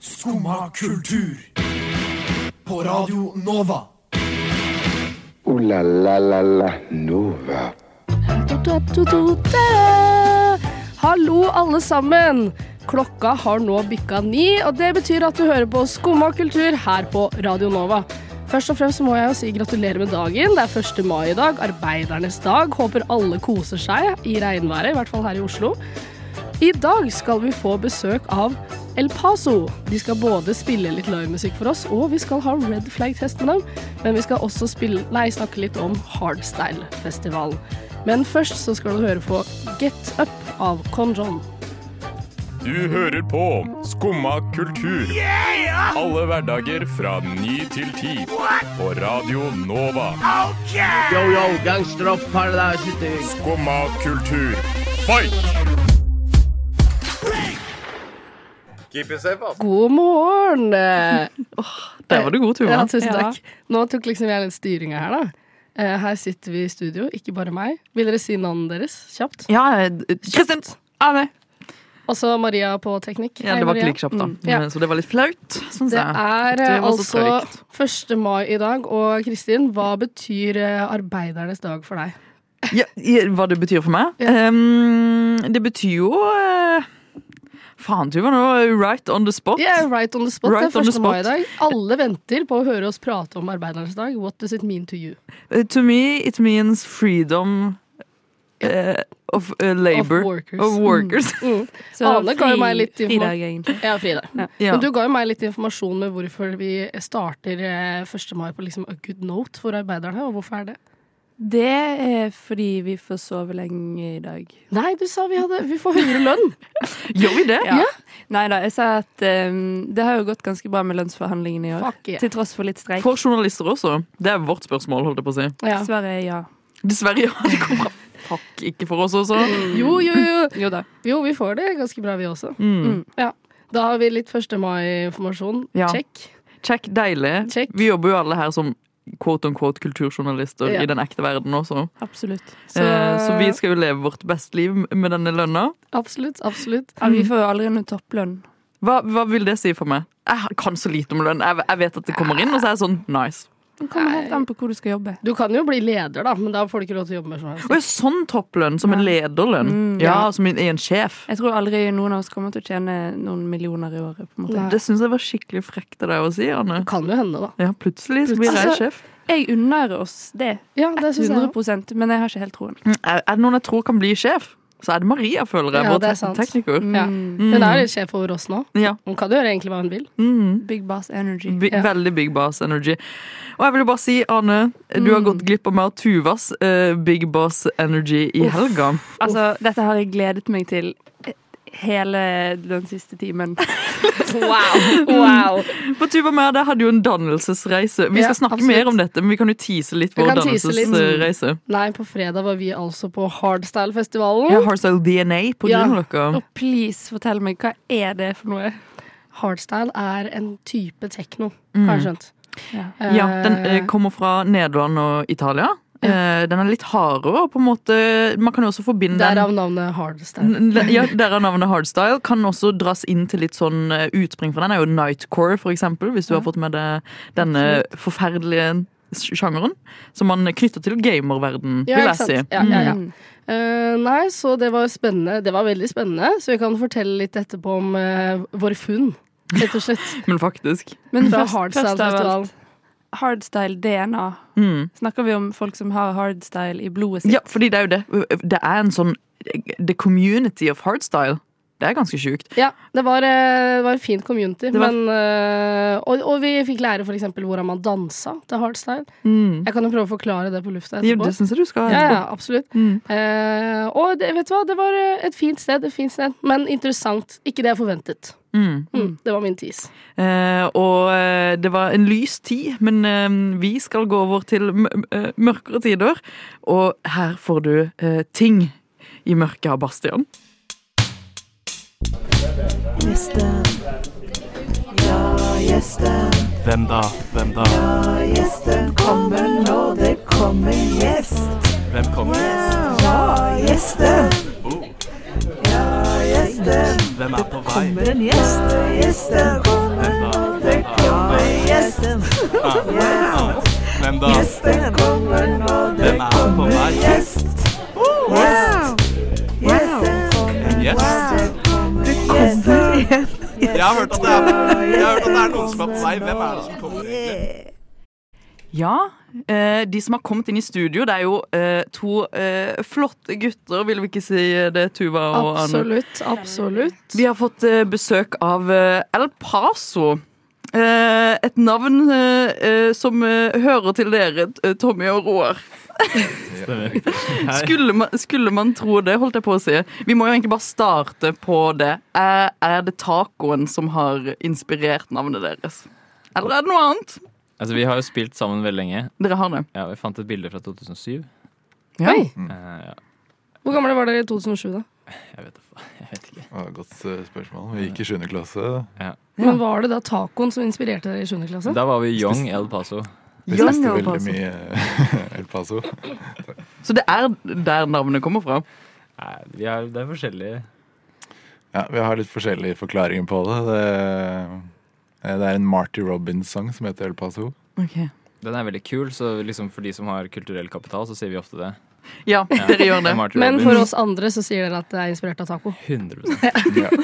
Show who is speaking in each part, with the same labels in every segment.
Speaker 1: Skumma kultur. På Radio Nova.
Speaker 2: Ooh la la la la Nova.
Speaker 3: Hallo, alle sammen. Klokka har nå bikka ni, og det betyr at du hører på Skumma kultur her på Radio Nova. Først og fremst må jeg jo si gratulerer med dagen. Det er 1. mai i dag, arbeidernes dag. Håper alle koser seg i regnværet, i hvert fall her i Oslo. I dag skal vi få besøk av El Paso. De skal både spille litt livemusikk for oss, og vi skal ha Red Flag-test med dem. Men vi skal også spille, nei, snakke litt om Hardstyle-festivalen. Men først så skal du høre på Get Up av Conjon.
Speaker 4: Du hører på Skumma kultur. Alle hverdager fra ny til ti. På Radio Nova.
Speaker 5: Yo, yo, gangsteropp, paradiset.
Speaker 4: Skumma kultur. Fight!
Speaker 3: God morgen! Åh,
Speaker 6: Der var du god, Tuva.
Speaker 3: ja, tusen takk. Nå tok liksom jeg litt styringa her, da. Eh, Her sitter vi i studio, ikke bare meg. Vil dere si navnet deres kjapt?
Speaker 6: Ja, d- Kristin. Anne.
Speaker 3: Også Maria på teknikk.
Speaker 6: Ja,
Speaker 3: Hei,
Speaker 6: det var
Speaker 3: Maria.
Speaker 6: ikke like kjapt, da.
Speaker 3: Mm, ja.
Speaker 6: Men- Så det var litt flaut, syns
Speaker 3: Det
Speaker 6: jeg.
Speaker 3: er
Speaker 6: Det
Speaker 3: eh,
Speaker 6: var så
Speaker 3: altså
Speaker 6: trøyt.
Speaker 3: 1. mai i dag, og Kristin, hva betyr eh, arbeidernes dag for deg?
Speaker 6: Ja, i- hva det betyr for meg? Um, det betyr jo eh, Faen, Tuva, nå er du right on the spot.
Speaker 3: Yeah, right on the spot.
Speaker 6: Right
Speaker 3: det
Speaker 6: on
Speaker 3: er
Speaker 6: the
Speaker 3: 1. mai i
Speaker 6: spot.
Speaker 3: dag. Alle venter på å høre oss prate om arbeidernes dag. What does it mean to you?
Speaker 6: Eh, To me, it means freedom eh, of eh, labor.
Speaker 3: Of workers. Mm.
Speaker 6: Of workers.
Speaker 7: Så
Speaker 3: Ane ga jo meg litt informa-
Speaker 7: fridag, egentlig.
Speaker 3: Ja, Frida.
Speaker 6: ja.
Speaker 3: Men du ga jo meg litt informasjon med hvorfor vi starter eh, 1. mai på liksom a good note for arbeiderne, og hvorfor er det?
Speaker 7: Det er fordi vi får sove lenge i dag.
Speaker 3: Nei, du sa vi hadde Vi får høyere lønn!
Speaker 6: Gjør vi det?
Speaker 7: Nei da, jeg sa at um, det har jo gått ganske bra med lønnsforhandlingene i år.
Speaker 3: Fuck yeah.
Speaker 7: Til tross for litt streik.
Speaker 6: For journalister også. Det er vårt spørsmål, holdt jeg på å si.
Speaker 3: Ja.
Speaker 7: Dessverre, ja.
Speaker 6: Dessverre, ja. Det kommer fuck ikke for oss også.
Speaker 3: Jo, jo, jo.
Speaker 7: Jo da.
Speaker 3: Jo, vi får det ganske bra, vi også.
Speaker 6: Mm.
Speaker 3: Ja. Da har vi litt 1. mai-informasjon.
Speaker 6: Ja.
Speaker 3: Check.
Speaker 6: Check, deilig.
Speaker 3: Check.
Speaker 6: Vi jobber jo alle her som quote on quote kulturjournalister
Speaker 3: Ja.
Speaker 6: i den ekte verden også.
Speaker 7: Absolutt.
Speaker 6: Så, eh, så vi skal jo leve vårt beste liv med denne lønna.
Speaker 3: Absolutt. Absolutt.
Speaker 7: ja, vi får jo aldri noen topplønn.
Speaker 6: Hva, hva vil det si for meg? Jeg kan så lite om lønn. Jeg, jeg vet at det kommer inn, og så er jeg sånn nice.
Speaker 7: Det kommer helt an på hvor du skal jobbe.
Speaker 3: Du kan jo bli leder, da, men da får du ikke lov til å jobbe med journalist.
Speaker 6: Og sånn topplønn, som en lederlønn.
Speaker 7: Mm,
Speaker 6: ja.
Speaker 7: ja.
Speaker 6: som en, i en sjef.
Speaker 7: Jeg tror aldri noen av oss kommer til å tjene noen millioner i året. på en måte.
Speaker 3: Nei.
Speaker 6: Det syns jeg var skikkelig frekt av deg å si, Anne.
Speaker 3: Det kan jo hende, da.
Speaker 6: Ja, plutselig så blir jeg
Speaker 7: Altså-
Speaker 6: sjef.
Speaker 7: Jeg unner oss det,
Speaker 3: Ja, det synes jeg.
Speaker 7: 100 men jeg har ikke helt troen.
Speaker 6: Mm, Er, er det noen jeg tror kan bli sjef, så er det Maria, føler jeg.
Speaker 3: Ja,
Speaker 6: vår
Speaker 3: det er
Speaker 6: te-
Speaker 3: sant. Mm.
Speaker 6: tekniker.
Speaker 3: Ja.
Speaker 6: Mm.
Speaker 3: Hun er jo litt sjef over oss nå.
Speaker 6: Ja.
Speaker 3: Hun kan jo gjøre egentlig hva hun vil.
Speaker 6: Mm.
Speaker 7: Big Bass Energy.
Speaker 6: Bi-
Speaker 3: Ja.
Speaker 6: Veldig big boss energy. Og jeg vil jo bare si, Arne, du
Speaker 3: Mm.
Speaker 6: har gått glipp av mer Tuvas eh, big boss energy i helga.
Speaker 7: Altså, dette har jeg gledet meg til hele den siste timen.
Speaker 3: Wow! wow.
Speaker 6: For Tuva og jeg der hadde jo en dannelsesreise. Vi
Speaker 3: Ja,
Speaker 6: skal snakke
Speaker 3: absolutt.
Speaker 6: mer om dette, men vi kan jo tease litt
Speaker 3: Vi
Speaker 6: vår
Speaker 3: kan tease litt.
Speaker 6: dannelsesreise.
Speaker 3: Nei, på fredag var vi altså på Hardstyle-festivalen.
Speaker 6: Ja, Hardstyle DNA på
Speaker 3: Ja.
Speaker 6: grunn av dere.
Speaker 7: Og please, fortell meg, hva er det for noe?
Speaker 3: Hardstyle er en type tekno, har jeg skjønt.
Speaker 7: Ja.
Speaker 3: Eh,
Speaker 6: Mm. Ja, den eh, kommer fra Nederland og Italia. Eh, den er litt hardere, og på en måte Man kan jo også forbinde den
Speaker 3: Derav navnet Hardstyle.
Speaker 6: N- n- Ja, Derav navnet hardstyle. Kan også dras inn til litt sånn eh, utspring fra den. er jo nightcore, for eksempel, hvis du har fått med deg denne forferdelige sj- sjangeren. Som man knytter til gamerverden,
Speaker 3: Ja,
Speaker 6: vil
Speaker 3: ikke
Speaker 6: jeg
Speaker 3: sant?
Speaker 6: si.
Speaker 3: Ja, ja, ja.
Speaker 7: Mm.
Speaker 3: Eh, nei, så det var spennende. Det var veldig spennende, så vi kan fortelle litt etterpå om eh, våre funn, rett og slett.
Speaker 6: Mm. Men faktisk.
Speaker 7: Men
Speaker 3: Fra
Speaker 7: først, først av alt,
Speaker 3: Hardstyle-festivalen.
Speaker 7: hardstyle DNA.
Speaker 6: Mm.
Speaker 7: Snakker vi om folk som har hardstyle i blodet sitt?
Speaker 6: Ja, fordi det er jo det. Det er en sånn The community of hardstyle. Det er ganske sjukt.
Speaker 3: Ja, det var, eh, det var en fin community.
Speaker 6: Det var-
Speaker 3: Men, eh, og, og vi fikk lære f.eks. hvordan man dansa til hardstyle.
Speaker 6: Mm.
Speaker 3: Jeg kan jo prøve å forklare det på lufta
Speaker 6: Ja,
Speaker 3: etterpå.
Speaker 6: det syns jeg du skal.
Speaker 3: Ja, ja,
Speaker 6: etterpå.
Speaker 3: absolutt.
Speaker 6: Mm.
Speaker 3: Eh, og det, vet du hva, det var eh, et fint sted, et fint sted, men interessant. Ikke det jeg forventet.
Speaker 6: Mm.
Speaker 3: Mm, det var min tis.
Speaker 6: Eh, og eh, det var en lys tid, men eh, vi skal gå over til m m- mørkere tider. Og her får du eh, Ting i mørket av Bastian.
Speaker 8: Hvem da? Hvem da? gjesten kommer nå, det kommer gjest. Hvem kommer? Ja, gjesten. Ja, gjesten. Hvem er på vei?
Speaker 9: en gjest. Gjesten kommer, det kommer gjesten.
Speaker 8: Hvem Ah, da?
Speaker 9: Gjesten kommer nå, det
Speaker 8: Hvem er på
Speaker 9: kommer
Speaker 8: vei?
Speaker 9: gjest. Gjest. Gjesten kommer,
Speaker 8: Yes.
Speaker 9: det kommer gjest.
Speaker 8: Jeg har hørt at det er, jeg har hørt at det er noen som er på vei. Hvem er det som kommer?
Speaker 6: Ja. Eh, de som har kommet inn i studio, det er jo eh, to eh, flotte gutter, vil vi ikke si eh, det, Tuva og Anne?
Speaker 3: Absolutt. Absolutt.
Speaker 6: Vi har fått eh, besøk av eh, El Paso. Eh, et navn eh, eh, som eh, hører til dere, t- eh, Tommy og Roar. Skulle man, skulle man tro det, holdt jeg på å si. Vi må jo egentlig bare starte på det. Er, er det tacoen som har inspirert navnet deres? Eller er det noe annet?
Speaker 10: Altså, vi har jo spilt sammen veldig lenge.
Speaker 6: Dere har det.
Speaker 10: Ja, vi fant et bilde fra 2007.
Speaker 3: Oi.
Speaker 11: Mm.
Speaker 10: Eh, ja,
Speaker 3: Hvor gamle var dere i 2007, da?
Speaker 10: jeg vet, da fa- jeg vet ikke.
Speaker 11: Ja, Godt eh, spørsmål. Vi gikk i 7. klasse.
Speaker 3: Men var det da tacoen som inspirerte dere i 7. klasse?
Speaker 10: Da var vi young El Paso.
Speaker 11: Vi
Speaker 6: Young
Speaker 11: spiste
Speaker 6: El
Speaker 11: veldig
Speaker 6: Paso.
Speaker 11: mye El Paso.
Speaker 6: Så det er der navnet kommer fra.
Speaker 10: Nei, vi er, det er forskjellige.
Speaker 11: Ja, vi har litt forskjellige forklaringer på det. Det, det er en Marty Robins-sang som heter El Paso.
Speaker 10: Den er veldig kul, så liksom for de som har kulturell kapital, så sier vi ofte det.
Speaker 6: Ja, dere gjør det.
Speaker 10: Marty
Speaker 3: Men
Speaker 10: Robbins.
Speaker 3: for oss andre så sier dere at det er inspirert av taco.
Speaker 10: 100
Speaker 6: Og det er det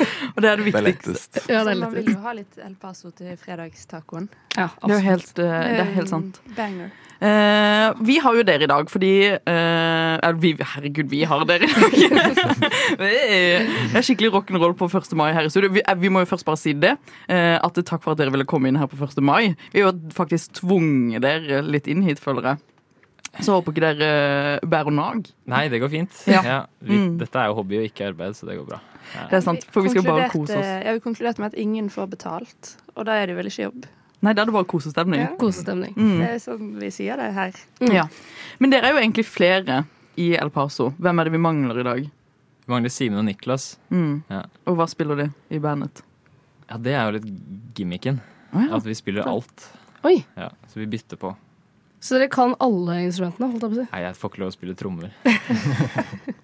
Speaker 11: Det er
Speaker 6: viktigste.
Speaker 11: lettest.
Speaker 3: Ja, det
Speaker 7: Så
Speaker 3: er
Speaker 7: man
Speaker 3: litt
Speaker 7: vil jo ha litt El Paso til fredagstacoen.
Speaker 3: Ja,
Speaker 6: Det er jo
Speaker 3: absolutt.
Speaker 6: helt, eh, det er helt sant.
Speaker 7: Eh, Banger.
Speaker 6: Eh, vi har jo dere i dag fordi eh, eller vi, Herregud, vi har dere i dag! det er skikkelig rock'n'roll på 1. mai her i studio. Vi, eh, vi må jo først bare si det. eh, at Takk for at dere ville komme inn her på 1. mai. Vi har jo faktisk tvunget dere litt inn hit, føler jeg. Så håper ikke dere eh, bærer nag.
Speaker 10: Nei, det går fint.
Speaker 6: Ja.
Speaker 10: vi,
Speaker 6: Mm.
Speaker 10: Dette er jo hobby og ikke arbeid, så det går bra.
Speaker 6: Det er sant, for vi skal bare
Speaker 7: Konkluderte-
Speaker 6: kose oss.
Speaker 7: Ja, vi konkluderte med at ingen får betalt, og da er det vel ikke jobb.
Speaker 6: Nei, da er det bare kosestemning.
Speaker 7: Ja.
Speaker 3: Kosestemning.
Speaker 6: Mm.
Speaker 7: Det er sånn vi sier det her.
Speaker 6: Ja. Men dere er jo egentlig flere i El Paso. Hvem er det vi mangler i dag?
Speaker 10: Vi mangler Simen og Niklas.
Speaker 6: Mm.
Speaker 10: Ja.
Speaker 6: Og hva spiller de i bandet?
Speaker 10: Ja, det er jo litt gimmicken.
Speaker 6: Å ja.
Speaker 10: At vi spiller alt.
Speaker 3: Oi.
Speaker 10: Ja, så vi bytter på.
Speaker 3: Så dere kan alle instrumentene, holdt jeg på å si.
Speaker 10: Nei, jeg får ikke lov å spille trommer.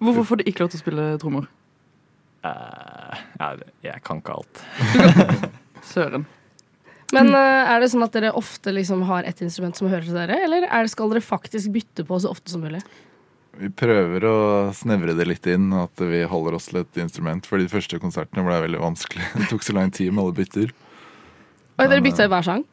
Speaker 6: Hvorfor får de ikke lov til å spille trommer?
Speaker 10: Eh, ja, det- jeg kan ikke alt.
Speaker 6: Søren. Mm.
Speaker 3: Men eh, er det sånn at dere ofte liksom har ett instrument som hører til dere, eller er, skal dere faktisk bytte på så ofte som mulig?
Speaker 11: Vi prøver å snevre det litt inn, at vi holder oss til et instrument. For de første konsertene ble veldig vanskelig. Det tok så lang tid med alle bytter.
Speaker 3: Oi, dere bytta i hver sang?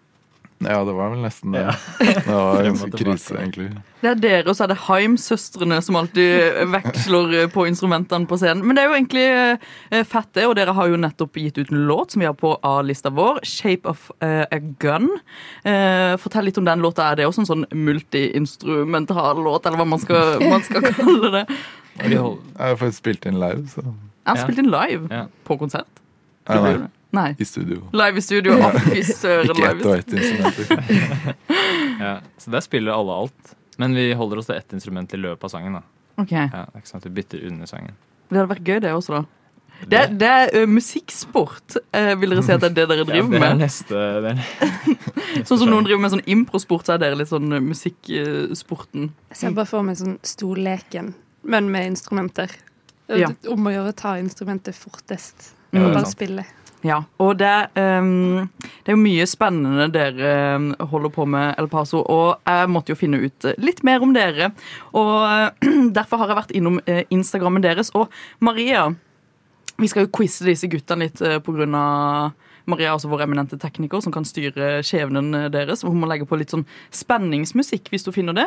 Speaker 11: Ja, det var vel nesten det. Det var
Speaker 10: Frem
Speaker 11: en
Speaker 10: og tilbake.
Speaker 11: krise, egentlig.
Speaker 6: Det er dere, og så er det Heim-søstrene som alltid veksler eh, på instrumentene på scenen. Men det er jo egentlig eh, fett, det, og dere har jo nettopp gitt ut en låt som vi har på A-lista vår, 'Shape of eh, a Gun'. Eh, fortell litt om den låta. Er det også en sånn multiinstrumental låt, eller hva man skal, man skal kalle det?
Speaker 10: Og vi hold-
Speaker 11: Jeg har faktisk spilt inn live, så
Speaker 6: Jeg har
Speaker 10: Ja.
Speaker 6: spilt inn live
Speaker 10: Ja.
Speaker 6: på konsert.
Speaker 11: Nei, nei,
Speaker 6: Nei.
Speaker 11: i studio.
Speaker 6: Live i studio. Å, fy søren.
Speaker 11: Ikke
Speaker 6: live i
Speaker 11: ett og ett instrumenter.
Speaker 10: ja. Så der spiller alle alt. Men vi holder oss til ett instrument i løpet av sangen. da.
Speaker 6: Ok, Det
Speaker 10: Ja, det er ikke sant, Vi bytter under sangen.
Speaker 6: hadde vært gøy, det også, da. Det, det er ø, musikksport, eh, vil dere si at det er det dere driver
Speaker 10: Ja, det er
Speaker 6: med?
Speaker 10: neste det er
Speaker 6: Sånn som noen driver med sånn improsport, så er dere litt sånn ø, musikksporten.
Speaker 7: Jeg ser bare for meg sånn stolleken, men med instrumenter.
Speaker 6: Ja.
Speaker 7: Om å gjøre å ta instrumentet fortest.
Speaker 10: Ja, det er
Speaker 7: og bare
Speaker 10: sant.
Speaker 7: spille.
Speaker 6: Ja, og det, øhm, det er jo mye spennende dere øhm, holder på med, El Paso, og jeg måtte jo finne ut eh, litt mer om dere. Og eh, derfor har jeg vært innom eh, Instagrammen deres. Og Maria, vi skal jo quize disse guttene litt eh, på grunn av Maria er også vår eminente tekniker som kan styre skjebnen eh, deres. og Hun må legge på litt sånn spenningsmusikk hvis du finner det.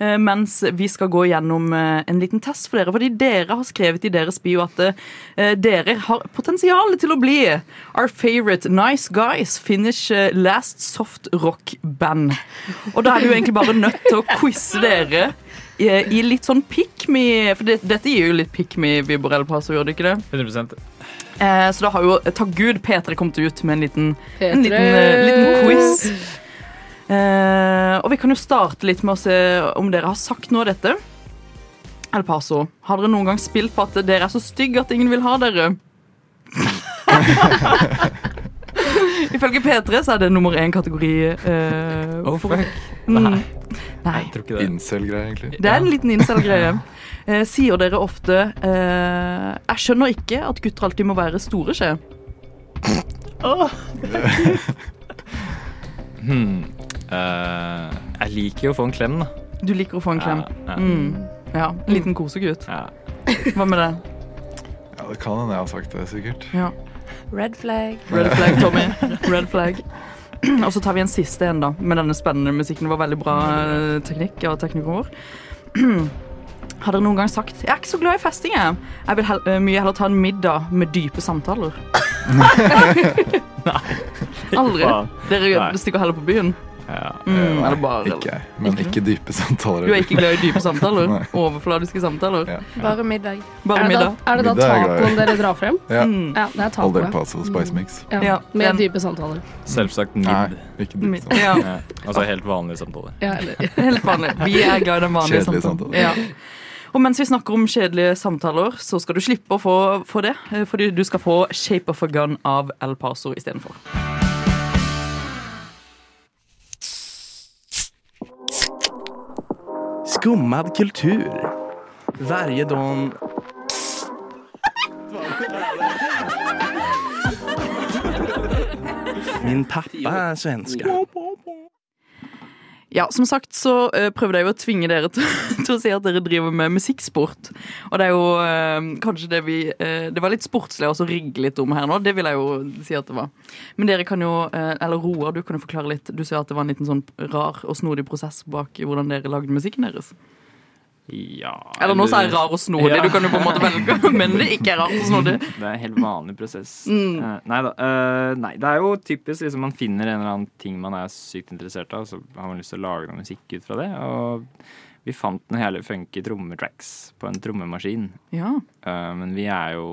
Speaker 6: Eh, Mens vi skal gå gjennom eh, en liten test for dere. Fordi dere har skrevet i deres bio at eh, dere har potensial til å bli our favorite nice guys finish eh, last soft rock band. Og da er vi jo egentlig bare nødt til å quize dere i, i litt sånn pick me. For det, dette gir jo litt pick me-vibber, eller pass, gjør det ikke det?
Speaker 10: 100
Speaker 6: Eh, så da har jo takk Gud P3 kommet ut med en liten, en
Speaker 3: P3.
Speaker 6: liten, eh, liten quiz. Eh, og vi kan jo starte litt med å se om dere har sagt noe av dette. El Paso, har dere noen gang spilt på at dere er så stygge at ingen vil ha dere? Ifølge P3 så er det nummer én kategori. eh,
Speaker 10: Oh, fuck.
Speaker 6: Mm. Nei.
Speaker 10: Jeg tror ikke det.
Speaker 11: Incel-greie, egentlig.
Speaker 6: Det er en liten incel-greie. Eh, sier dere ofte eh, 'Jeg skjønner ikke at gutter alltid må være store', skje.
Speaker 10: Hmm. Eh, jeg liker jo å få en klem, da.
Speaker 6: Du liker å få en klem.
Speaker 10: Ja, ja.
Speaker 6: Mm. Ja, en liten kosegutt. Hva med det?
Speaker 11: Ja, det kan hende jeg har sagt det, sikkert.
Speaker 6: Ja.
Speaker 7: Red flag.
Speaker 6: Red flag, Tommy. Red flag. Og så tar vi en siste en, da, med denne spennende musikken. Det var veldig bra eh, teknikk og teknikkord. Har dere noen gang sagt 'Jeg er ikke så glad i festing, jeg'. Jeg vil hel eh, mye heller ta en middag med dype samtaler. Aldri.
Speaker 10: Faen.
Speaker 6: Dere
Speaker 10: Nei.
Speaker 6: stikker heller på byen.
Speaker 10: Ja.
Speaker 6: Mm, eller bare,
Speaker 11: Ikke jeg, men ikke dype samtaler.
Speaker 6: Du er ikke glad i dype samtaler?
Speaker 11: Nei.
Speaker 6: Overfladiske samtaler?
Speaker 11: Ja.
Speaker 7: Bare middag.
Speaker 6: Bare
Speaker 3: er, det da,
Speaker 6: middag?
Speaker 3: er det da
Speaker 11: Middag er jeg glad i.
Speaker 3: tacoen dere drar frem?
Speaker 11: Ja.
Speaker 6: Mm.
Speaker 3: Ja, det er
Speaker 11: Old El
Speaker 3: tacoet.
Speaker 11: Paso Spice Mix.
Speaker 3: Ja,
Speaker 6: Ja,
Speaker 3: med
Speaker 6: den-
Speaker 3: dype samtaler.
Speaker 10: Selvsagt mid.
Speaker 11: Nei, ikke dype
Speaker 6: Mid-
Speaker 11: samtaler.
Speaker 6: Ja,
Speaker 10: Ja. Altså helt vanlige samtaler.
Speaker 3: Ja, eller,
Speaker 6: helt vanlig. Vi er glad i den vanlige
Speaker 11: Kjedelige
Speaker 6: samtalen.
Speaker 11: samtaler.
Speaker 6: Ja. Og mens vi snakker om kjedelige samtaler, så skal du slippe å få, få det. eh, Fordi du skal få Shape of a Gun av El Paso istedenfor.
Speaker 8: Skummad kultur. Varje dag. Min pappa är svenska.
Speaker 6: Ja, som sagt så eh, prøvde jeg jo å tvinge dere til, til å si at dere driver med musikksport. Og det er jo eh, kanskje det vi eh, Det var litt sportslig også å rigge litt om her nå. Det vil jeg jo si at det var. Men dere kan jo, eh, eller Roar, du kan jo forklare litt. Du ser at det var en liten sånn rar og snodig prosess bak i hvordan dere lagde musikken deres.
Speaker 12: Ja
Speaker 6: Eller nå sa jeg rar og snodig,
Speaker 12: Ja.
Speaker 6: du kan jo på en måte velge, men det ikke er rart og snodig.
Speaker 12: Det er en helt vanlig prosess.
Speaker 6: Mm.
Speaker 12: Eh, Nei da. eh, nei, det er jo typisk liksom, man finner en eller annen ting man er sykt interessert av, så har man lyst til å lage noe musikk ut fra det. Og vi fant noen hele funky trommetracks på en trommemaskin.
Speaker 6: Ja.
Speaker 12: Eh, men vi er jo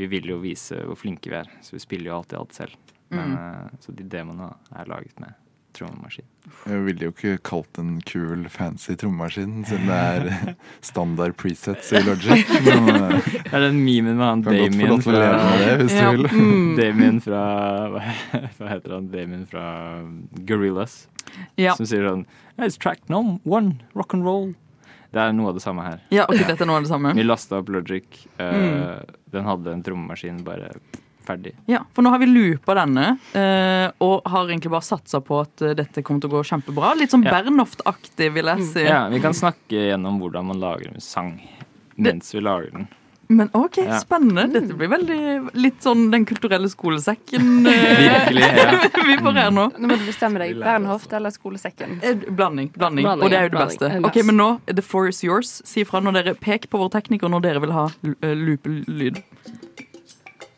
Speaker 12: Vi vil jo vise hvor flinke vi er, så vi spiller jo alltid alt selv. Men, eh, så de demoene er laget med trommemaskin.
Speaker 11: Jeg ville jo ikke kalt den kul, fancy trommemaskin, siden det er standard presets i Logic. Men eh,
Speaker 12: Det er den memen med han
Speaker 11: kan godt få
Speaker 12: Damien
Speaker 11: lov til å leve med det, hvis
Speaker 6: Ja.
Speaker 11: du vil.
Speaker 6: Mm.
Speaker 12: Damien fra Hva hva heter han? Damien fra um, Gorillas.
Speaker 6: Ja.
Speaker 12: Som sier sånn It's track nom one, rock and roll. Det er noe av det samme her.
Speaker 6: ja, ok, dette er noe av det samme.
Speaker 12: Vi lasta opp Logic. eh,
Speaker 6: Mm.
Speaker 12: Den hadde en trommemaskin bare ferdig.
Speaker 6: Ja, for nå har vi loopa denne, eh, og har egentlig bare satsa på at eh, dette kommer til å gå kjempebra. Litt sånn
Speaker 12: Ja. Mm.
Speaker 6: Bernhoft-aktig, vil jeg si.
Speaker 12: Ja, Vi kan snakke gjennom hvordan man lager en sang mens vi lager den.
Speaker 6: Men OK,
Speaker 12: Ja.
Speaker 6: spennende. Dette blir veldig litt sånn Den kulturelle skolesekken eh,
Speaker 12: Virkelig, ja.
Speaker 6: vi får her nå.
Speaker 7: Nå må du bestemme deg. Bernhoft eller skolesekken?
Speaker 6: Eh, Blanding, blanding.
Speaker 3: Blanding,
Speaker 6: Og det er jo det
Speaker 3: blanding.
Speaker 6: beste.
Speaker 3: En
Speaker 6: Ok,
Speaker 3: glass.
Speaker 6: Men nå, the floor is yours. Si ifra når dere peker på vår tekniker når dere vil ha eh, loopelyd.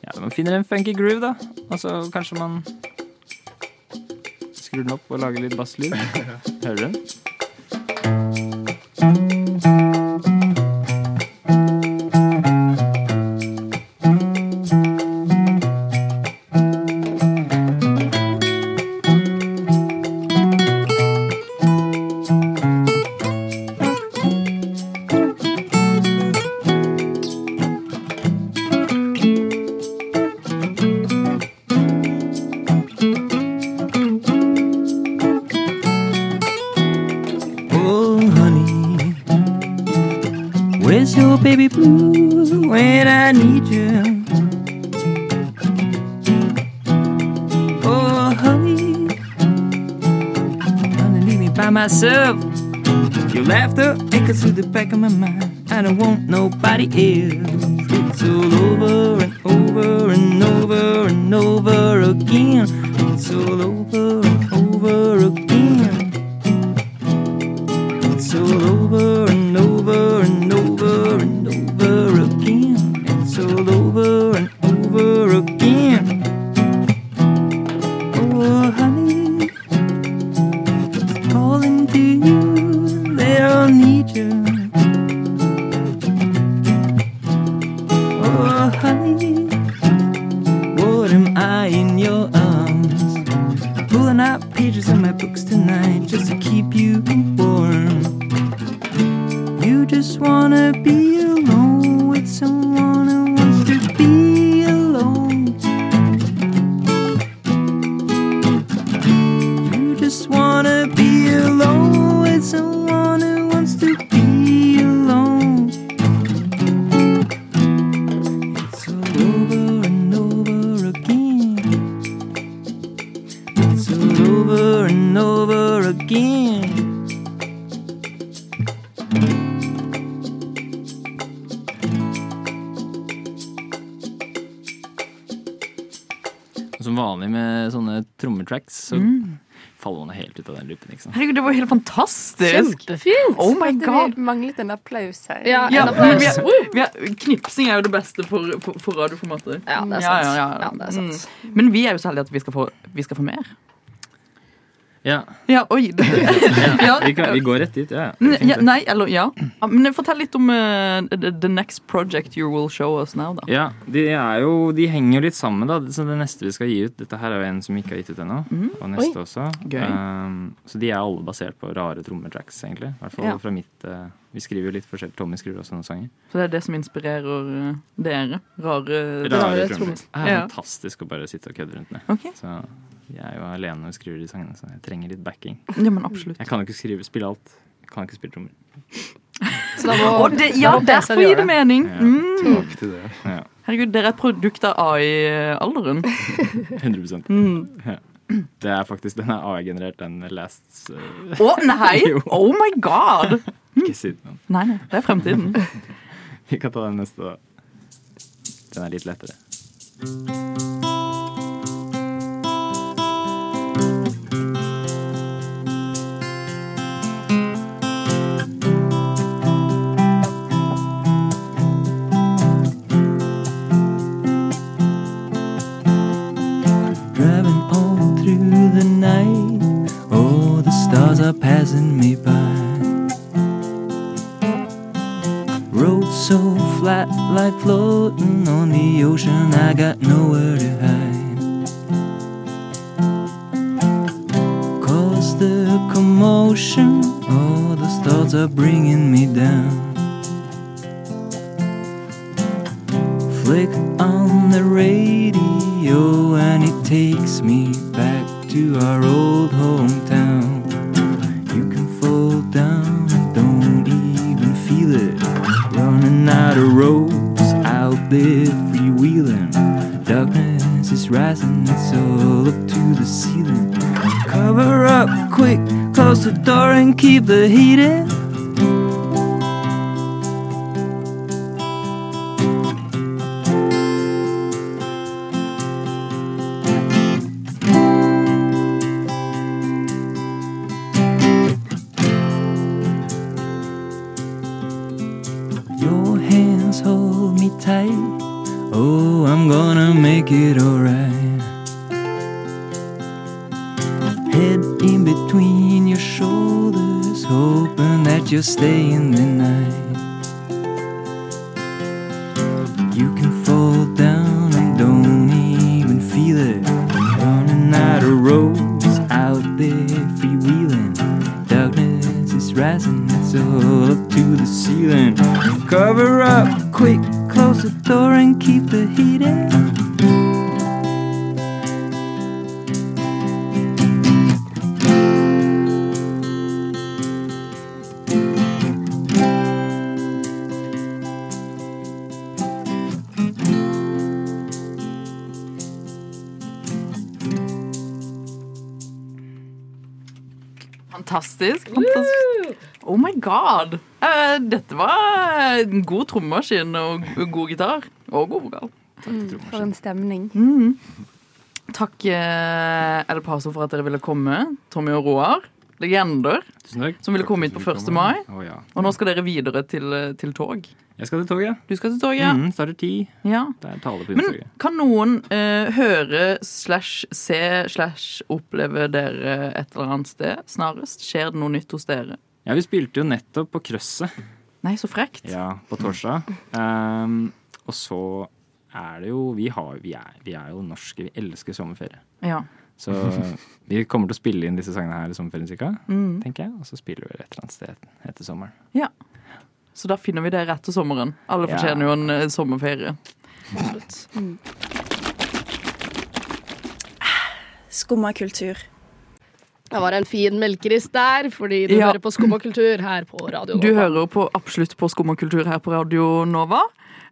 Speaker 12: ja man finner en funky groove, da. Og så kanskje man skrur den opp og lager litt basslyd. Hører du den?
Speaker 8: Oh, honey, where's your baby blue when I need you? Oh, honey, gonna leave me by myself. Your laughter echoes through the back of my mind. I don't want nobody else. It's all over and over and over and over again. It's all over and over again. It's all over and over and over and over again. It's all over and over again. Oh, honey, calling to you, they all need you. Oh, honey, what am I in your arms? Pulling out pages of my books tonight just to keep you warm. You just wanna be alone with someone who wants to be alone. You just wanna be alone with someone. and over again.
Speaker 10: Som vanlig med sånne trommetracks, så
Speaker 6: Mm.
Speaker 10: faller man helt ut av den loopen. ikke sant?
Speaker 6: Herregud, det var helt fantastisk.
Speaker 3: Kjempefint.
Speaker 6: Oh my god.
Speaker 7: Vi manglet en applaus her.
Speaker 3: Ja,
Speaker 6: Ja,
Speaker 3: en
Speaker 6: men vi
Speaker 3: applaus.
Speaker 6: er, vi er, knipsing er jo det beste for, for, for radioformatet.
Speaker 3: Ja, det er sant. Ja, det er sant.
Speaker 6: Mm. Men vi er jo så heldige at vi skal få, vi skal få mer.
Speaker 10: Ja.
Speaker 6: Ja, oi. det- Ja.
Speaker 10: Vi, kan, vi går rett dit, ja.
Speaker 6: Men, ja, nei, eller ja. Ja, Men fortell litt om eh, the, the next project you will show us now, da.
Speaker 10: Ja, de, er jo, de henger jo litt sammen, da. Så det neste vi skal gi ut Dette her er jo en som vi ikke har gitt ut ennå.
Speaker 6: Mhm.
Speaker 10: Og neste
Speaker 6: Oi.
Speaker 10: også.
Speaker 6: Gøy.
Speaker 10: Um, så de er alle basert på rare trommetracks, egentlig. I hvert fall
Speaker 6: Ja.
Speaker 10: fra mitt eh, Vi skriver jo litt forskjellig. Tommy skriver også noen sanger.
Speaker 6: For det er det som inspirerer eh, dere. Rare,
Speaker 10: Rare trommer. Det er
Speaker 6: Ja.
Speaker 10: fantastisk å bare sitte og kødde rundt med.
Speaker 6: Ok.
Speaker 10: Så jeg er jo alene og skriver de sangene, så jeg trenger litt backing.
Speaker 6: Ja, men absolutt.
Speaker 10: Jeg kan jo ikke skrive, spille alt. Jeg kan ikke spille trommer.
Speaker 3: Så da må-
Speaker 6: Og det, ja,
Speaker 3: da må
Speaker 6: derfor
Speaker 3: Besa gjøre
Speaker 6: gir det mening.
Speaker 10: Ja.
Speaker 6: Mm.
Speaker 11: Takk til det.
Speaker 10: Ja,
Speaker 6: Herregud, dere er et produkt av AI-alderen.
Speaker 10: 100
Speaker 6: Mm.
Speaker 10: ja. Det er faktisk Den er AI-generert, den Last Å
Speaker 6: Å nei! Oh my god!
Speaker 10: Ikke si det.
Speaker 6: Nei, nei, det er fremtiden.
Speaker 10: Vi kan ta den neste, da. Den er litt lettere.
Speaker 8: Driving on through the night. Oh, the stars are passing me by. Road so flat, like floating on the ocean. I got nowhere to hide. Cause the commotion, oh, those thoughts are bringing me down. Flick on the radio and it takes me back to our old hometown. You can fall down, don't even feel it. Running out of ropes, out there freewheeling. Darkness is rising, it's all up to the ceiling. Cover up quick, close the door and keep the heat in. Your hands hold me tight. Oh, I'm gonna make it alright. Head in between your shoulders, hoping that you're staying the night. You can fall down and don't even feel it. Running out of roads out there freewheeling. Darkness is rising, it's all up to the ceiling. Cover up quick, close the door and keep the heat in.
Speaker 6: Fantastisk. fantastisk. Oh my god. Eh, dette var en god trommaskin og god gitar. Og god vokal.
Speaker 7: For en stemning.
Speaker 6: Mm. Takk eh, El Paso for at dere ville komme. Tommy og Roar, legender,
Speaker 10: Tusen takk.
Speaker 6: som ville komme hit på 1. mai.
Speaker 10: Å, ja.
Speaker 6: Og nå skal dere videre til, eh, til tog.
Speaker 10: Jeg skal til toget.
Speaker 6: Du skal til toget?
Speaker 8: Mhm.
Speaker 10: Mm, starter ti.
Speaker 6: Ja.
Speaker 10: Det er tale på
Speaker 6: Men
Speaker 10: innslaget.
Speaker 6: kan noen eh, høre slash se slash oppleve dere et eller annet sted snarest? Skjer det noe nytt hos dere?
Speaker 10: Ja, vi spilte jo nettopp på Krøsset.
Speaker 6: Nei, så frekt.
Speaker 10: Ja, på torsdag. Ehm, og så er det jo Vi, har, vi, er, vi er jo norske. Vi elsker sommerferie.
Speaker 6: Ja.
Speaker 10: Så vi kommer til å spille inn disse sangene her i sommerferien, cirka,
Speaker 6: Mm.
Speaker 10: tenker jeg. Og så spiller vi et eller annet sted etter sommeren.
Speaker 6: Ja. Så da finner vi det rett til sommeren. Alle
Speaker 10: Ja.
Speaker 6: fortjener jo en eh, sommerferie.
Speaker 3: Skumma kultur. Det var en fin melkeris der, fordi du
Speaker 6: Ja.
Speaker 3: hører på Skumma kultur her på radio.
Speaker 6: Du hører på, absolutt på Skum og kultur her på Radio Nova.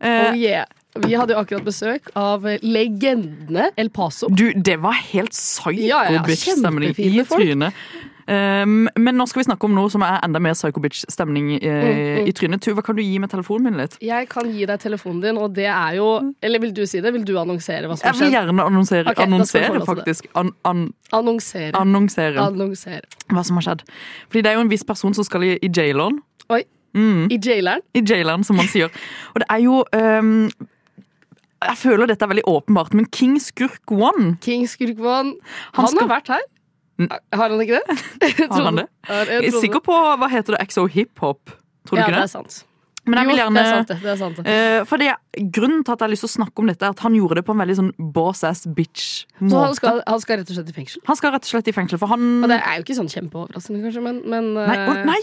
Speaker 6: Eh,
Speaker 3: Oh yeah. Vi hadde jo akkurat besøk av legendene El Paso.
Speaker 6: Du, det var helt
Speaker 3: Ja, ja, ja,
Speaker 6: psycho-bitch-stemning i
Speaker 3: kjempefine folk.
Speaker 6: trynet. Um, men nå skal vi snakke om noe som er enda mer psycho-bitch-stemning eh,
Speaker 3: Mm, mm.
Speaker 6: i trynet. Tuva, kan du gi meg telefonen min litt?
Speaker 3: Jeg kan gi deg telefonen din, og det er jo Eller vil du si det? Vil du annonsere hva som
Speaker 6: Jeg vil
Speaker 3: skjer?
Speaker 6: gjerne annonsere,
Speaker 3: Ok, da skal du
Speaker 6: annonsere
Speaker 3: forholde deg til det.
Speaker 6: faktisk. An, an,
Speaker 3: Annonsere.
Speaker 6: annonsere
Speaker 3: Annonsere.
Speaker 6: hva som har skjedd. Fordi det er jo en viss person som skal i, i jaileren.
Speaker 3: Oi.
Speaker 6: Mm.
Speaker 3: I jaileren?
Speaker 6: I jaileren, som man sier. Og det er jo ehm, Jeg føler dette er veldig åpenbart, men King Skurk One
Speaker 3: King Skurk One.
Speaker 6: Han
Speaker 3: Han,
Speaker 6: skal- Mm.
Speaker 3: har vært her. Har han ikke det?
Speaker 6: Har han det? Jeg er sikker på hva heter det, XO hiphop. Tror du
Speaker 3: ja,
Speaker 6: ikke det?
Speaker 3: det er sant.
Speaker 6: Men jeg vil
Speaker 3: Jo,
Speaker 6: gjerne-
Speaker 3: det er sant, det. det, er sant, det.
Speaker 6: Eh, for det, grunnen til at jeg har lyst til å snakke om dette, er at han gjorde det på en veldig sånn boss ass bitch-måte.
Speaker 3: Så han skal, han skal rett og slett i fengsel?
Speaker 6: Han skal rett og slett i fengsel, for han
Speaker 3: Og det er jo ikke sånn kjempeoverraskende, kanskje, men, men eh,
Speaker 6: Nei, å, nei!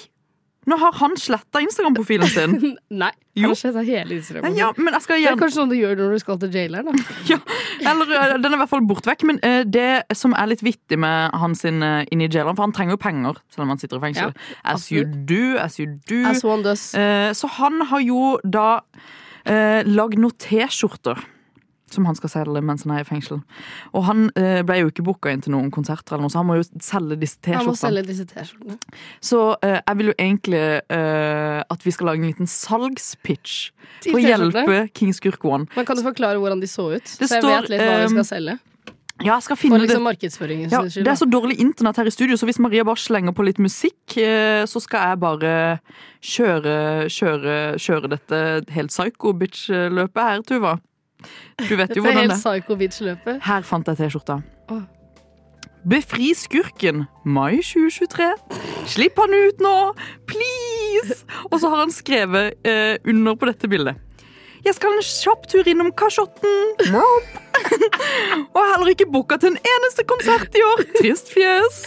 Speaker 6: Nå har han sletta Instagram-profilen sin.
Speaker 3: Nei.
Speaker 6: Jo.
Speaker 3: Han har slettet hele Instagram.
Speaker 6: Ja, men jeg skal
Speaker 3: Det er
Speaker 6: gjerne
Speaker 3: kanskje sånn du gjør når du skal til jaileren. da.
Speaker 6: Eller eh, den er i hvert fall bort vekk. Men eh, det som er litt vittig med han sin eh, inni jaileren, for han trenger jo penger selv om han sitter i fengsel.
Speaker 3: Ja,
Speaker 6: as you
Speaker 3: absolutt.
Speaker 6: do, as you do.
Speaker 3: As one does.
Speaker 6: Mm. Eh, så han har jo da eh, lagd noen T-skjorter. Som han skal selge mens han er i fengsel. Og han eh, ble jo ikke booka inn til noen konserter, eller noe, så han må jo selge disse
Speaker 3: Han må
Speaker 6: T-skjortene.
Speaker 3: selge disse T-skjortene.
Speaker 6: Så eh, jeg vil jo egentlig eh, at vi skal lage en liten salgspitch
Speaker 3: Til
Speaker 6: for å
Speaker 3: T-skjortene?
Speaker 6: hjelpe Kings Gurkwan.
Speaker 3: Men kan du forklare hvordan de så ut?
Speaker 6: Det
Speaker 3: så jeg
Speaker 6: står,
Speaker 3: vet litt hva vi
Speaker 6: ehm,
Speaker 3: skal selge.
Speaker 6: Ja, jeg skal
Speaker 3: For
Speaker 6: finne
Speaker 3: liksom
Speaker 6: det.
Speaker 3: markedsføringen
Speaker 6: Ja,
Speaker 3: sin skyld.
Speaker 6: det er så dårlig internett her i studio, så hvis Maria bare slenger på litt musikk, eh, så skal jeg bare kjøre, kjøre, kjøre dette helt psycho-bitch-løpet her, Tuva. Du vet
Speaker 3: Dette
Speaker 6: jo
Speaker 3: er
Speaker 6: hvordan
Speaker 3: helt
Speaker 6: det er.
Speaker 3: psycho bitch-løpet.
Speaker 6: Her fant jeg T-skjorta.
Speaker 3: Åh.
Speaker 6: Befri skurken, mai 2023. Slipp han ut nå, please! Og så har han skrevet eh, under på dette bildet. Jeg skal en kjapp tur innom Kasjotten. Mop. Og er heller ikke booka til en eneste konsert i år. Trist fjes.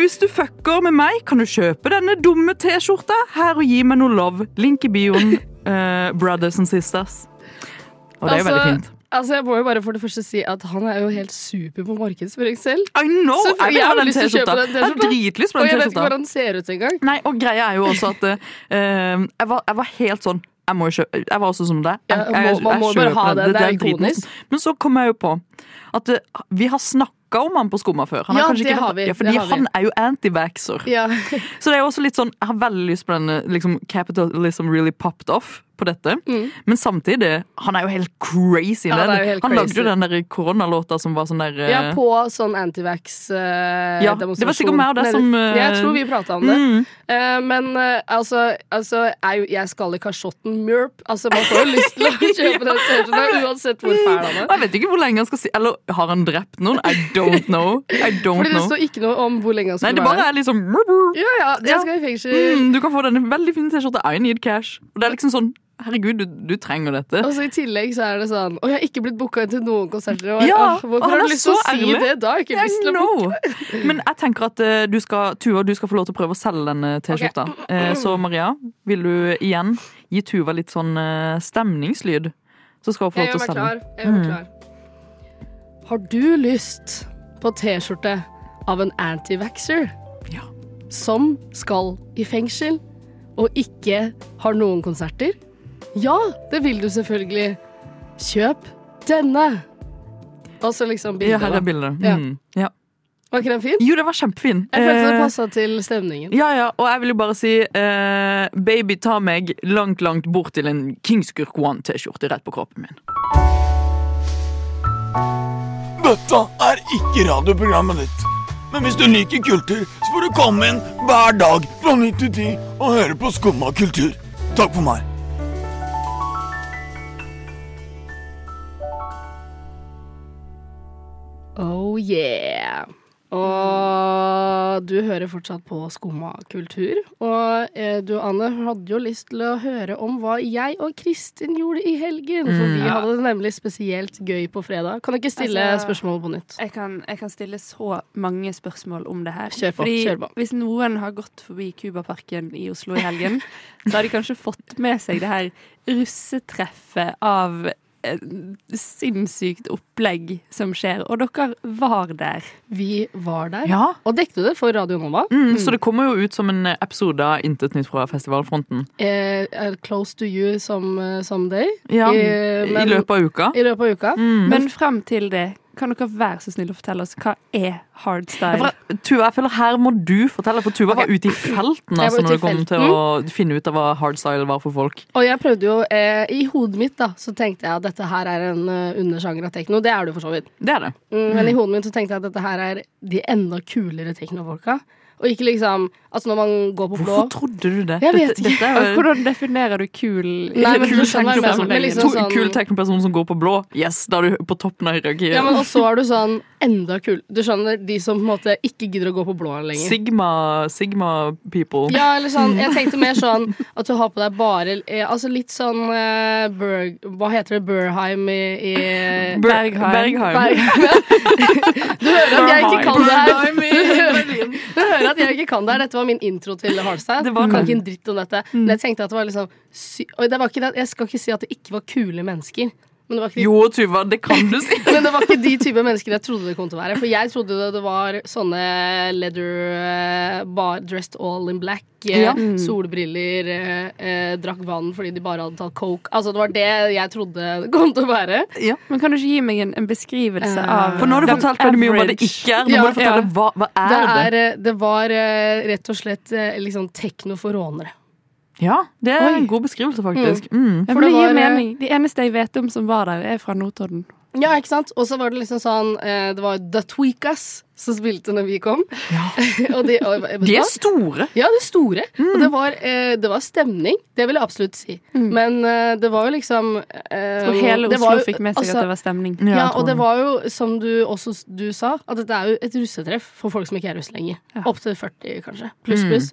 Speaker 6: Hvis du fucker med meg, kan du kjøpe denne dumme T-skjorta her og gi meg noe love. Link i bioen. eh, brothers and sisters. Og det er jo
Speaker 3: Altså,
Speaker 6: veldig fint.
Speaker 3: Altså, jeg må jo bare for det første si at han er jo helt super på markedsføring selv.
Speaker 6: I know!
Speaker 3: Så
Speaker 6: Jeg vil
Speaker 3: jeg
Speaker 6: ha
Speaker 3: har
Speaker 6: den
Speaker 3: lyst til å
Speaker 6: T-skjorta.
Speaker 3: kjøpe den
Speaker 6: Jeg har
Speaker 3: T-skjorta.
Speaker 6: dritlyst på
Speaker 3: Og
Speaker 6: den
Speaker 3: jeg vet ikke
Speaker 6: T-skjorta.
Speaker 3: hvordan den ser ut engang.
Speaker 6: Nei, og greia er jo også at eh, jeg, var, jeg var helt sånn jeg, må jo kjøpe, jeg var også som deg. Jeg,
Speaker 3: Ja, må- man må bare
Speaker 6: kjøper
Speaker 3: ha
Speaker 6: den.
Speaker 3: den,
Speaker 6: Dette
Speaker 3: det er
Speaker 6: dritmorsomt. Men så kom jeg jo på at eh, vi har snakka om han på Skumma før. Han
Speaker 3: Ja,
Speaker 6: kanskje
Speaker 3: det
Speaker 6: ikke
Speaker 3: har
Speaker 6: vært-
Speaker 3: vi,
Speaker 6: Ja, fordi
Speaker 3: det har vi.
Speaker 6: han er jo antivaxer.
Speaker 3: Ja.
Speaker 6: Så det er jo også litt sånn, jeg har veldig lyst på denne liksom, capitalism really popped off på dette.
Speaker 3: Mm.
Speaker 6: Men samtidig, han er jo helt crazy.
Speaker 3: Ja, han er jo helt
Speaker 6: han lagde
Speaker 3: crazy.
Speaker 6: jo den der koronalåta som var sånn der eh,
Speaker 3: Ja, på sånn eh, antivax-demonstrasjon.
Speaker 6: Ja, det var sikkert meg og deg som, eh,
Speaker 3: Jeg tror vi prata om det.
Speaker 6: Mm.
Speaker 3: Eh, men eh, altså, altså er jo, Jeg skal i kasjotten Murp. Altså, man får jo lyst til å kjøpe den T-skjorta uansett hvor fæl han er.
Speaker 6: Og Jeg vet ikke hvor lenge han skal si Eller har han drept noen? I don't know. I don't
Speaker 3: Fordi det
Speaker 6: know.
Speaker 3: står ikke noe om hvor lenge han skulle
Speaker 6: Nei, det bare
Speaker 3: være
Speaker 6: er liksom
Speaker 3: Ja, ja, jeg skal i fengsel.
Speaker 6: mm, Du kan få denne veldig fine T-skjorta. I need cash. Og det er liksom sånn Herregud, du, du trenger dette.
Speaker 3: Og så I tillegg så er det sånn Å, jeg har ikke blitt booka inn til noen konserter. Og,
Speaker 6: Ja,
Speaker 3: «Åh,
Speaker 6: og
Speaker 3: hvorfor
Speaker 6: han
Speaker 3: har
Speaker 6: er
Speaker 3: du lyst til å
Speaker 6: så
Speaker 3: si
Speaker 6: ærlig.
Speaker 3: det da? Jeg har ikke
Speaker 6: I
Speaker 3: lyst til å
Speaker 6: know. Men jeg tenker at eh, du skal, Tuva, du skal få lov til å prøve å selge denne T-skjorta. Eh, så Maria, vil du igjen gi Tuva litt sånn eh, stemningslyd? Så skal hun få
Speaker 3: Jeg
Speaker 6: lov
Speaker 3: gjør meg
Speaker 6: til å selge.
Speaker 3: klar. Jeg gjør meg
Speaker 6: Mm.
Speaker 3: klar. Har du lyst på T-skjorte av en antivaxer som skal i fengsel og ikke har noen konserter? Ja, det vil du selvfølgelig. Kjøp denne! Og så liksom bildet.
Speaker 6: Ja, her
Speaker 3: da.
Speaker 6: er bildet.
Speaker 3: Ja.
Speaker 6: Mm. Ja.
Speaker 3: Var ikke den fin?
Speaker 6: Jo, den var kjempefin.
Speaker 3: Jeg følte
Speaker 6: Eh,
Speaker 3: det passa til stemningen.
Speaker 6: Ja, ja, og jeg vil jo bare si eh, Baby, ta meg langt, langt bort til en Kingskurk One T-skjorte rett på kroppen min.
Speaker 1: Dette er ikke radioprogrammet ditt. Men hvis du liker kultur, så får du komme inn hver dag fra 9 til 10 og høre på Skumma kultur. Takk for meg.
Speaker 3: Oh yeah! Og du hører fortsatt på Skumma kultur. Og eh, du, Anne, hadde jo lyst til å høre om hva jeg og Kristin gjorde i helgen. For
Speaker 7: Mm.
Speaker 3: vi
Speaker 7: Ja.
Speaker 3: hadde det nemlig spesielt gøy på fredag. Kan du ikke stille
Speaker 7: Altså-
Speaker 3: spørsmål på nytt?
Speaker 7: Jeg kan, jeg kan stille så mange spørsmål om det her.
Speaker 3: Kjør på,
Speaker 7: Fordi
Speaker 3: kjør på.
Speaker 7: Hvis noen har gått forbi Cubaparken i Oslo i helgen, så har de kanskje fått med seg det her russetreffet av eh, sinnssykt opplegg som skjer, og dere var der.
Speaker 3: Vi var der.
Speaker 6: Ja.
Speaker 3: Og dekket du det for Radio Nova?
Speaker 6: Mm, så det kommer jo ut som en episode av Intet nytt fra festivalfronten.
Speaker 3: Eh, er close to you some, someday.
Speaker 6: Ja,
Speaker 3: Eh,
Speaker 6: i
Speaker 3: men-
Speaker 6: løpet av uka.
Speaker 3: I løpet av uka.
Speaker 6: Mm.
Speaker 7: Men frem til det, kan dere være så snill å fortelle oss hva er
Speaker 6: Ja,
Speaker 7: hardstyle?
Speaker 6: for, Tuva, jeg føler her må du fortelle, for Tuva var ute i
Speaker 3: Jeg
Speaker 6: felten altså,
Speaker 3: var ute
Speaker 6: når
Speaker 3: i
Speaker 6: det kom til å finne ut av hva hardstyle var for folk.
Speaker 3: Og jeg prøvde jo, eh, i hodet mitt da, så tenkte jeg at dette her er en eh, undersjanger av tekno. Det er det jo for så vidt.
Speaker 6: Det er det.
Speaker 3: Mm, men i hodet mitt så tenkte jeg at dette her er de enda kulere teknofolka. Og ikke liksom Altså, når man går på blå
Speaker 6: Hvorfor trodde du det?
Speaker 3: Jeg vet
Speaker 6: Dette-
Speaker 3: ikke.
Speaker 6: dette er jo-
Speaker 7: Hvordan definerer du kul?
Speaker 3: Nei, men
Speaker 6: kul
Speaker 3: du skjønner hva jeg
Speaker 6: teknoperson.
Speaker 3: mener, men liksom
Speaker 6: To-
Speaker 3: sånn-
Speaker 6: Kul teknoperson som går på blå. Yes, da er du på toppen av hierarkiet.
Speaker 3: Ja, men Og så er du sånn enda kul. Du skjønner, de som på en måte ikke gidder å gå på blå lenger.
Speaker 6: Sigma, Sigma people.
Speaker 3: Ja, eller sånn, jeg tenkte mer sånn at du har på deg bare eh, Altså litt sånn eh, Berg, Hva heter det? Burheim i, i
Speaker 6: Ber- Bergheim.
Speaker 3: Du hører at jeg ikke kan det her.
Speaker 6: Bergheim i
Speaker 3: Du hører, du hører at jeg ikke kan det her. Dette var min intro til Hardstyle.
Speaker 6: Det var
Speaker 3: kan
Speaker 6: det. Mm.
Speaker 3: ikke en dritt om dette. Men jeg tenkte at det var liksom sy Og det var ikke det, jeg skal ikke si at det ikke var kule mennesker. Men det var ikke de
Speaker 6: Jo, Tuva, det kan du si.
Speaker 3: men det var ikke de type mennesker jeg trodde det kom til å være. For jeg trodde det, det var sånne leather eh, bar, Dressed all in black, eh,
Speaker 6: Ja. Mm.
Speaker 3: solbriller, eh, eh, drakk vann fordi de bare hadde tatt coke. Altså, det var det jeg trodde det kom til å være.
Speaker 7: Men kan du ikke gi meg en, en beskrivelse
Speaker 3: Eh,
Speaker 7: av
Speaker 6: For nå har du
Speaker 7: den
Speaker 6: fortalt veldig mye om hva det
Speaker 7: average?
Speaker 6: ikke er. Nå
Speaker 3: Ja,
Speaker 6: må du fortelle
Speaker 3: ja.
Speaker 6: hva, hva er
Speaker 3: Det,
Speaker 6: det
Speaker 3: er, eh, det var eh, rett og slett eh, liksom tekno for rånere.
Speaker 6: Ja, det er
Speaker 3: Oi.
Speaker 6: en god beskrivelse, faktisk.
Speaker 3: Mm.
Speaker 6: Mm.
Speaker 7: Ja,
Speaker 3: For
Speaker 7: for det
Speaker 3: det
Speaker 7: gir
Speaker 3: var, eh,
Speaker 7: mening. Det eneste jeg vet om som var der, er fra Notodden.
Speaker 3: Ja, ikke sant? Og så var det liksom sånn eh, Det var The Tweakers som spilte når vi kom. og de, og, vet du
Speaker 6: De er
Speaker 3: hva?
Speaker 6: store.
Speaker 3: Ja, de er store.
Speaker 7: Mm.
Speaker 3: Og det var, eh, det var stemning. Det vil jeg absolutt si. Men eh, det var jo liksom eh,
Speaker 7: tror Mm. hele
Speaker 3: det
Speaker 7: Oslo
Speaker 3: var jo-
Speaker 7: fikk med seg
Speaker 6: altså,
Speaker 7: at det var stemning.
Speaker 3: Ja,
Speaker 7: Ja, jeg tror
Speaker 3: og det
Speaker 7: det.
Speaker 3: var jo, som du også s- du sa, at dette er jo et russetreff for folk som ikke er russ lenger. Opp til 40, kanskje. Pluss,
Speaker 6: Mm.
Speaker 3: pluss.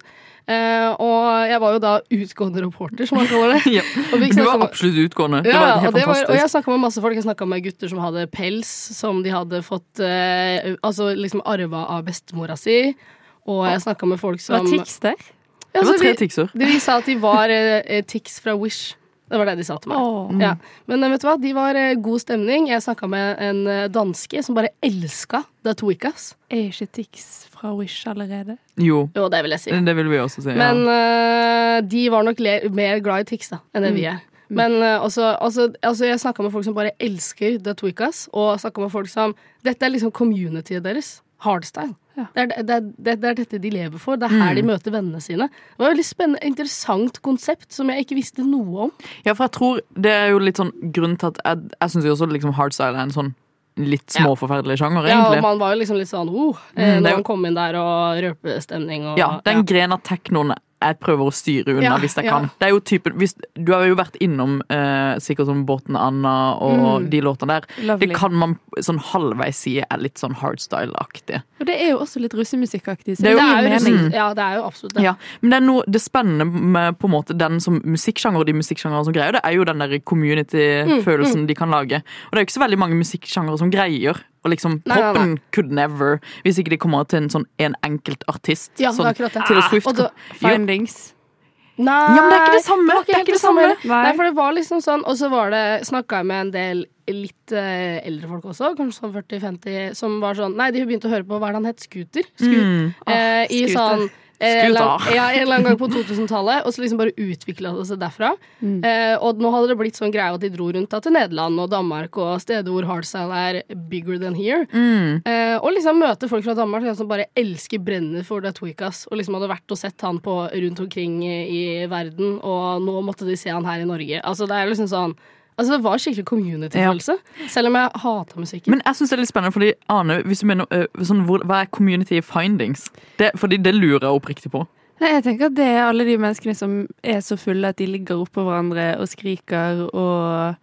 Speaker 3: Eh, og jeg var jo da utgående reporter, som man kaller det.
Speaker 6: Ja.
Speaker 3: Og vi
Speaker 6: Du var
Speaker 3: snakket om-
Speaker 6: absolutt utgående. Det
Speaker 3: altså- ja,
Speaker 6: var helt
Speaker 3: og, det var, og jeg
Speaker 6: fantastisk.
Speaker 3: snakka med masse folk. Jeg snakka med gutter som hadde pels, som de hadde fått eh, Altså liksom arva av bestemora si. Og jeg snakka med folk som
Speaker 7: var Tix der?
Speaker 3: Ja,
Speaker 6: Det
Speaker 3: så
Speaker 6: var tre
Speaker 3: de-
Speaker 6: tikser.
Speaker 3: De, sa at de var eh, eh, Tix fra Wish. Det var det de sa til meg.
Speaker 7: Åh.
Speaker 3: Ja. Men eh, vet du hva, de var eh, god stemning. Jeg snakka med en eh, danske som bare elska Datoikas.
Speaker 7: Er ikke Tix fra Wish allerede?
Speaker 6: Jo,
Speaker 3: Jo, det vil jeg si.
Speaker 6: det vil vi også si. Ja.
Speaker 3: Men eh, de var nok le mer glad i Tix da, enn det vi
Speaker 6: Mm.
Speaker 3: er. Men eh, også, altså, altså jeg snakka med folk som bare elsker The Tweakers, og snakka med folk som Dette er liksom communityet deres. Hardstyle. Det, er, det, er, det, er, det er dette de lever for. Det er her
Speaker 6: Mm.
Speaker 3: de møter vennene sine. Det var et veldig spennende, interessant konsept som jeg ikke visste noe om.
Speaker 6: Ja, for jeg tror det er jo litt sånn grunn til at jeg, jeg syns jo også liksom hardstyle er en sånn litt småforferdelig sjanger,
Speaker 3: Ja, og
Speaker 6: egentlig.
Speaker 3: man var jo liksom litt sånn oh,
Speaker 6: Mm,
Speaker 3: eh,
Speaker 6: det er
Speaker 3: når
Speaker 6: jo-
Speaker 3: man kom inn der og røpestemning og
Speaker 6: Ja, den grenen av teknoen jeg prøver å styre unna
Speaker 3: Ja,
Speaker 6: hvis jeg
Speaker 3: ja.
Speaker 6: kan. Det er jo typen, hvis, du har jo vært innom eh, sikkert sånn Båten Anna og
Speaker 7: Mm.
Speaker 6: de låtene der.
Speaker 7: Lovely.
Speaker 6: Det kan man sånn halvveis si er litt sånn hardstyle-aktig.
Speaker 7: Og det er jo også litt russemusikkaktig. så
Speaker 6: Det er jo-
Speaker 7: gir
Speaker 6: det er jo
Speaker 7: mening.
Speaker 6: russe-
Speaker 3: Ja, det er jo absolutt det.
Speaker 6: Ja, men det er noe det spennende med på en måte den som musikksjanger og de musikksjangerne som greier, det er jo den der community-følelsen
Speaker 3: Mm, mm.
Speaker 6: de kan lage. Og det er jo ikke så veldig mange musikksjangere som greier. Og liksom,
Speaker 3: Nei, nei,
Speaker 6: Poppen could never, hvis ikke de kommer til en, sånn, en enkelt artist.
Speaker 3: Ja, det er
Speaker 6: sånn,
Speaker 3: akkurat det.
Speaker 6: Taylor
Speaker 3: Ah,
Speaker 6: Swift.
Speaker 3: og da-
Speaker 6: Jo.
Speaker 7: Findings.
Speaker 3: Nei,
Speaker 6: Ja, men det er ikke det samme.
Speaker 3: var
Speaker 6: Det er
Speaker 3: helt
Speaker 6: ikke det samme.
Speaker 3: Nei.
Speaker 6: Nei.
Speaker 3: for det var liksom sånn Og så var det snakka jeg med en del litt eh, eldre folk også, kanskje sånn 40-50, som var sånn Nei, de begynte å høre på hva er det han het? Scooter?
Speaker 6: Mm.
Speaker 3: eh, I
Speaker 6: Scooter.
Speaker 3: sånn eh, en lang,
Speaker 6: Scooter.
Speaker 3: ja, en eller annen gang på 2000-tallet, og så liksom bare utvikla det seg derfra.
Speaker 6: Mm.
Speaker 3: Eh, og nå hadde det blitt sånn greie at de dro rundt da til Nederland og Danmark og steder hvor hardstyle er bigger than here.
Speaker 6: Mm.
Speaker 3: Eh, og liksom møte folk fra Danmark som bare elsker Brenner for The Tweakers, og liksom hadde vært og sett han på rundt omkring i i verden, og nå måtte de se han her i Norge. Altså det er liksom sånn Altså det var skikkelig community-følelse, selv om jeg hata musikken.
Speaker 6: Men jeg synes det er litt spennende, fordi Ane, hvis du mener, øh, sånn, hvor, hva er community findings? Det, fordi det lurer jeg oppriktig på.
Speaker 7: Nei, jeg tenker at det er alle de menneskene som er så fulle at de ligger oppå hverandre og skriker og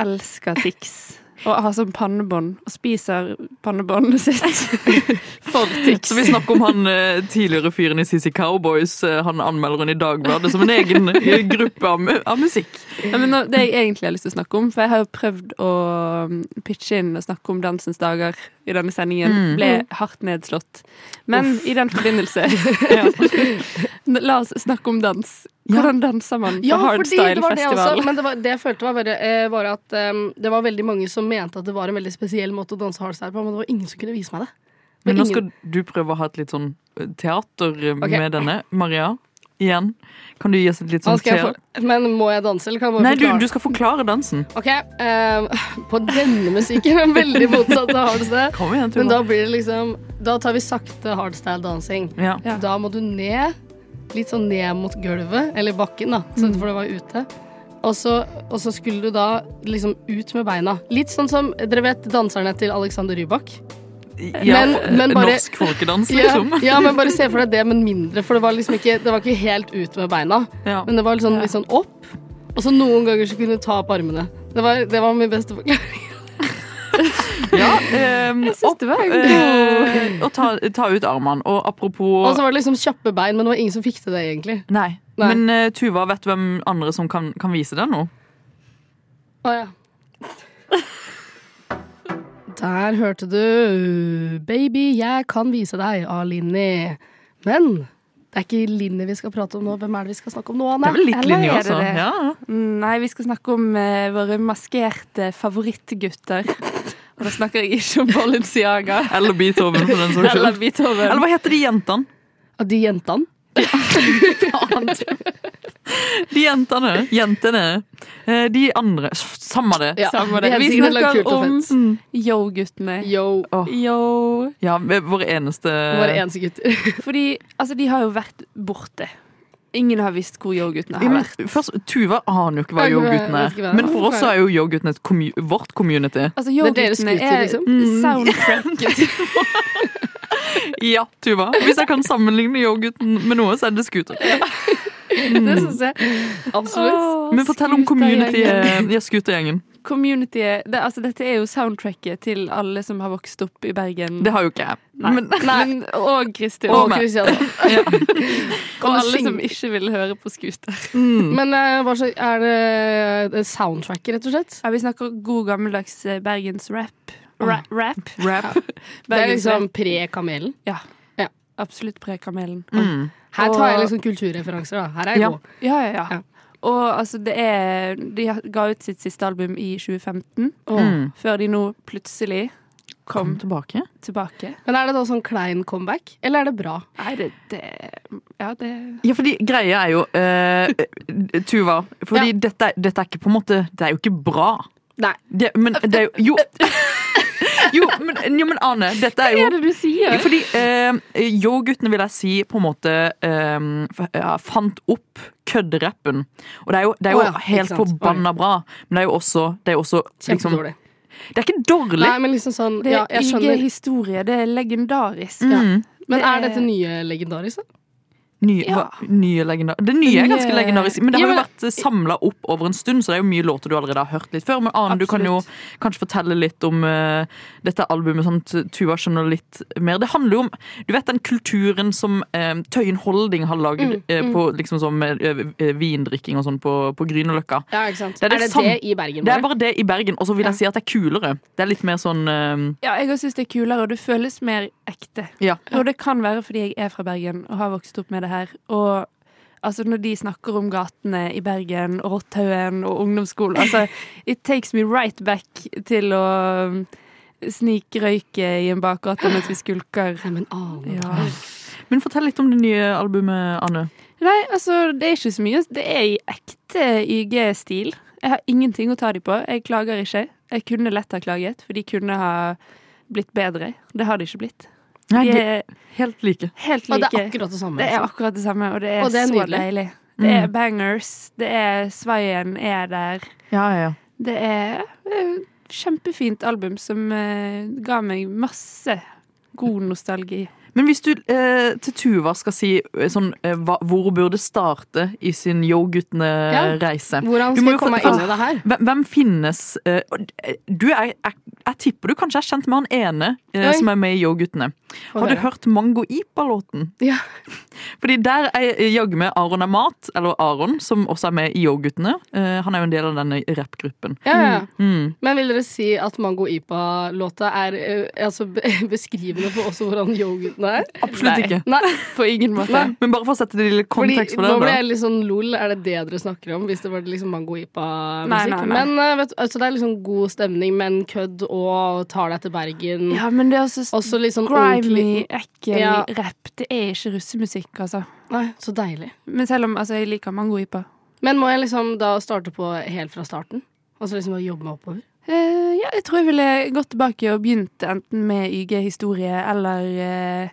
Speaker 7: elsker Tix. Og har sånn pannebånd, og spiser pannebåndet sitt. For Tix.
Speaker 6: Så vi snakker om han eh, tidligere fyren i CC Cowboys. eh, Han anmelder hun i Dagbladet som en egen eh, gruppe av, mu- av musikk.
Speaker 7: Ja, men nå- det jeg egentlig har lyst til å snakke om, for jeg har jo prøvd å mm, pitche inn og snakke om Dansens dager i denne sendingen,
Speaker 6: Mm.
Speaker 7: ble hardt nedslått. Men i den forbindelse La oss snakke om dans Hvordan danser man på
Speaker 3: Ja, fordi det var det også,
Speaker 7: hardstyle-festival?
Speaker 3: men det, var, det jeg følte var, bare, eh, var at ehm, det var veldig mange som mente at det var en veldig spesiell måte å danse hardstyle på, men det var ingen som kunne vise meg det.
Speaker 6: Men nå
Speaker 3: ingen-
Speaker 6: skal du prøve å ha et litt sånn eh, teater eh,
Speaker 3: Ok.
Speaker 6: med denne. Maria, igjen. Kan du gi oss et litt sånn
Speaker 3: Hva skal jeg
Speaker 6: teater?
Speaker 3: for- Men må jeg danse, eller kan jeg bare
Speaker 6: Nei, du,
Speaker 3: forklare?
Speaker 6: du skal forklare dansen.
Speaker 3: Ok, ehm, på denne musikken er veldig motsatt av hardstyle.
Speaker 6: Kom igjen, Tuva.
Speaker 3: Men da blir det liksom Da tar vi sakte hardstyle-dansing.
Speaker 6: Ja.
Speaker 3: Da må du ned, litt sånn ned mot gulvet, eller bakken, da, så-
Speaker 6: Mm.
Speaker 3: for det var jo ute. Og så, og så skulle du da liksom ut med beina. Litt sånn som dere vet danserne til Alexander Rybak.
Speaker 6: Ja, eh, norsk folkedans, liksom.
Speaker 3: Ja, ja, men bare se for deg det, men mindre. For det var liksom ikke, det var ikke helt ut med beina.
Speaker 6: Ja.
Speaker 3: Men det var litt sånn, litt sånn opp, og så noen ganger så kunne du ta opp armene. Det var, det var min beste forklaring.
Speaker 6: Ja, ehm, opp, eh, og ta, ta ut armene. Og apropos
Speaker 3: Og så var det liksom kjappe bein, men det var ingen som fikk til det, egentlig.
Speaker 6: Nei.
Speaker 3: Nei.
Speaker 6: Men eh, Tuva, vet du hvem andre som kan, kan vise det nå?
Speaker 3: Å, ja. Der hørte du 'Baby, jeg kan vise deg' av Linni. Men det er ikke Linni vi skal prate om nå. Hvem er det vi skal snakke om nå, Anne?
Speaker 7: Eller er det det? Nei, vi skal snakke om eh, våre maskerte favorittgutter. Og da snakker jeg ikke om Balenciaga.
Speaker 6: Eller Beethoven, for den saks skyld.
Speaker 7: Eller Beethoven.
Speaker 6: Eller hva heter de jentene?
Speaker 3: Ja, De jentene?
Speaker 6: De jentene. Jentene. Eh, De andre. S- Samme det.
Speaker 7: Ja, Samme det. de Vi heter sikkert snakker Kult og Mm. om- Eh, Fett. Yo-guttene.
Speaker 3: Yo.
Speaker 7: Yo.
Speaker 6: Ja, v- våre eneste
Speaker 3: gutter.
Speaker 7: Fordi altså, de har jo vært borte. Ingen har visst hvor yo-guttene
Speaker 6: Ja,
Speaker 7: har
Speaker 6: men
Speaker 7: vært.
Speaker 6: først, Tuva aner jo ikke hva
Speaker 7: Jeg vet ikke
Speaker 6: yo-guttene
Speaker 7: hva- jeg vet ikke hva
Speaker 6: er.
Speaker 7: det er.
Speaker 6: Men for oss så er jo yo-guttene et commu- vårt community.
Speaker 7: Altså, yo-guttene er Mm. soundtracket.
Speaker 6: Ja, Tuva. Hvis jeg kan sammenligne yo-gutten med noe, så er det scooter.
Speaker 7: det syns jeg. Mm. Absolutt.
Speaker 6: Men fortell om community
Speaker 7: eh.
Speaker 6: eh, ja, scootergjengen.
Speaker 7: Community det, altså, Dette er jo soundtracket til alle som har vokst opp i Bergen.
Speaker 6: Det har jo ikke jeg.
Speaker 7: Nei.
Speaker 6: Men,
Speaker 7: Men, og Kristian.
Speaker 6: Og meg.
Speaker 3: Ja.
Speaker 7: Og
Speaker 3: du
Speaker 7: alle
Speaker 3: synge?
Speaker 7: som ikke vil høre på scooter.
Speaker 3: Men eh, hva slags er det- det soundtracket, rett og slett?
Speaker 7: Ja, vi snakker god gammeldags eh, bergensrap. Ra rap.
Speaker 6: Rap.
Speaker 3: Det er liksom
Speaker 7: Bergensrap.
Speaker 3: pre-kamelen.
Speaker 7: Ja. Absolutt pre-kamelen.
Speaker 3: Mm. Her tar jeg
Speaker 7: Og-
Speaker 3: liksom kulturreferanser, da. Her er jeg
Speaker 7: ja.
Speaker 3: god.
Speaker 7: Ja, ja, ja. Og altså, det er De ga ut sitt siste album i 2015,
Speaker 3: Mm.
Speaker 7: før de nå plutselig kom,
Speaker 6: tilbake.
Speaker 7: tilbake.
Speaker 3: Men er det da sånn klein comeback, eller er det bra?
Speaker 7: Nei, det, Ja, det
Speaker 6: Ja, fordi greia er jo eh, Tuva, fordi dette, dette er ikke på en måte Det er jo ikke bra.
Speaker 3: Nei.
Speaker 6: Det, men det er jo Jo, jo, men, jo, men Ane, dette er jo
Speaker 7: Hva er det du sier?
Speaker 6: Fordi eh, yo-guttene, vil jeg si, på en måte eh, f- ja, fant opp kødderappen. Og det er jo, det er jo
Speaker 3: Å ja, ikke
Speaker 6: helt
Speaker 3: sant.
Speaker 6: forbanna bra, men det er jo også, det er jo også liksom,
Speaker 3: Kjempedårlig.
Speaker 6: Det er ikke dårlig.
Speaker 3: Nei, men liksom sånn
Speaker 7: Det
Speaker 3: ja,
Speaker 7: er
Speaker 3: jeg
Speaker 7: ikke
Speaker 3: skjønner.
Speaker 7: historie, det er legendarisk.
Speaker 6: Mm.
Speaker 3: Men er dette nye legendarisk, da?
Speaker 6: Nye, hva- nye legendar Det nye er ganske
Speaker 3: Nye-
Speaker 6: legendarisk, men det
Speaker 3: Ja,
Speaker 6: har jo
Speaker 3: men-
Speaker 6: vært samla opp over en stund, så det er jo mye låter du allerede har hørt litt før. Men Ane, du kan jo kanskje fortelle litt om eh, dette albumet, sånn at Tuva skjønner litt mer. Det handler jo om du vet den kulturen som eh, Tøyen Holding har lagd
Speaker 3: Mm,
Speaker 6: eh,
Speaker 3: mm.
Speaker 6: på liksom sånn med, eh, vindrikking og sånn på, på Grünerløkka.
Speaker 3: Ja, ikke sant.
Speaker 6: Det
Speaker 3: er, det
Speaker 6: sam-
Speaker 3: det i Bergen?
Speaker 6: Det er
Speaker 3: bare?
Speaker 6: bare det i Bergen, og så vil jeg si at det er kulere. Det er litt mer sånn eh,
Speaker 7: Ja, jeg syns det er kulere, og det føles mer ekte.
Speaker 6: Ja.
Speaker 7: Og det kan være fordi jeg er fra Bergen og har vokst opp med det her. Og altså, når de snakker om gatene i Bergen og Rothaugen og ungdomsskolen altså, It takes me right back til å um, snikrøyke i en bakgate mens vi skulker. Ja.
Speaker 6: Men fortell litt om det nye albumet, Ane.
Speaker 7: Nei, altså, det er ikke så mye. Det er i ekte YG-stil. Jeg har ingenting å ta dem på. Jeg klager ikke. Jeg kunne lett ha klaget, for de kunne ha blitt bedre. Det har de ikke blitt.
Speaker 6: Nei,
Speaker 7: de
Speaker 6: de-
Speaker 7: er
Speaker 6: Helt like.
Speaker 7: helt
Speaker 3: Og
Speaker 7: like.
Speaker 3: det er akkurat det samme,
Speaker 7: Det er
Speaker 3: altså.
Speaker 7: akkurat det samme, og det er,
Speaker 3: Og det er
Speaker 7: så
Speaker 3: nydelig.
Speaker 7: deilig. Det er
Speaker 6: Mm.
Speaker 7: bangers. Det er Sveien er der.
Speaker 6: Ja, ja, ja.
Speaker 7: Det er et kjempefint album som eh, ga meg masse god nostalgi.
Speaker 6: Men hvis du eh, til Tuva skal si eh, sånn, eh, hva, hvor hun burde starte i sin yo-guttene-reise
Speaker 3: Hvordan
Speaker 6: Du
Speaker 3: skal jeg
Speaker 6: må jo få-
Speaker 3: komme meg inn i det her?
Speaker 6: Hvem, hvem finnes eh, og d- eh, du er, jeg, jeg tipper du kanskje er kjent med han ene eh,
Speaker 3: Oi.
Speaker 6: som er med i Yo-guttene.
Speaker 3: Få
Speaker 6: Har du
Speaker 3: høre.
Speaker 6: hørt Mango Ipa-låten?
Speaker 3: Ja.
Speaker 6: Fordi der er eh, jaggu med Aron er mat, eller Aron, som også er med i Yo-guttene. Eh, han er jo en del av denne rappgruppen.
Speaker 3: Ja, ja.
Speaker 6: Mm.
Speaker 3: Men vil dere si at Mango Ipa-låta er eh, altså, be- beskrivende for også hvordan yo Nei?
Speaker 6: Absolutt ikke.
Speaker 3: Nei.
Speaker 7: På ingen måte.
Speaker 3: Nei.
Speaker 6: Men bare for å sette det i litt
Speaker 3: Fordi,
Speaker 6: kontekst for
Speaker 3: nå ble
Speaker 6: det.
Speaker 3: jeg litt sånn lol, er det det dere snakker om? Hvis det var liksom
Speaker 7: Nei,
Speaker 3: mango-ipa-musikk.
Speaker 7: nei, nei.
Speaker 3: Men eh, vet, du, altså, det er liksom god stemning, men kødd og tar deg til Bergen.
Speaker 7: Ja, men det er også,
Speaker 3: Også litt sånn
Speaker 7: grimy,
Speaker 3: ordentlig-
Speaker 7: ekkel
Speaker 3: Ja.
Speaker 7: rap. Det er ikke russemusikk, altså.
Speaker 3: Nei, så deilig.
Speaker 7: Men selv om altså, jeg liker mangojipa.
Speaker 3: Men må jeg liksom da starte på helt fra starten? Og så liksom bare jobbe meg oppover?
Speaker 7: Eh, ja, jeg tror jeg ville gått tilbake og begynt enten med YG-historie eller eh,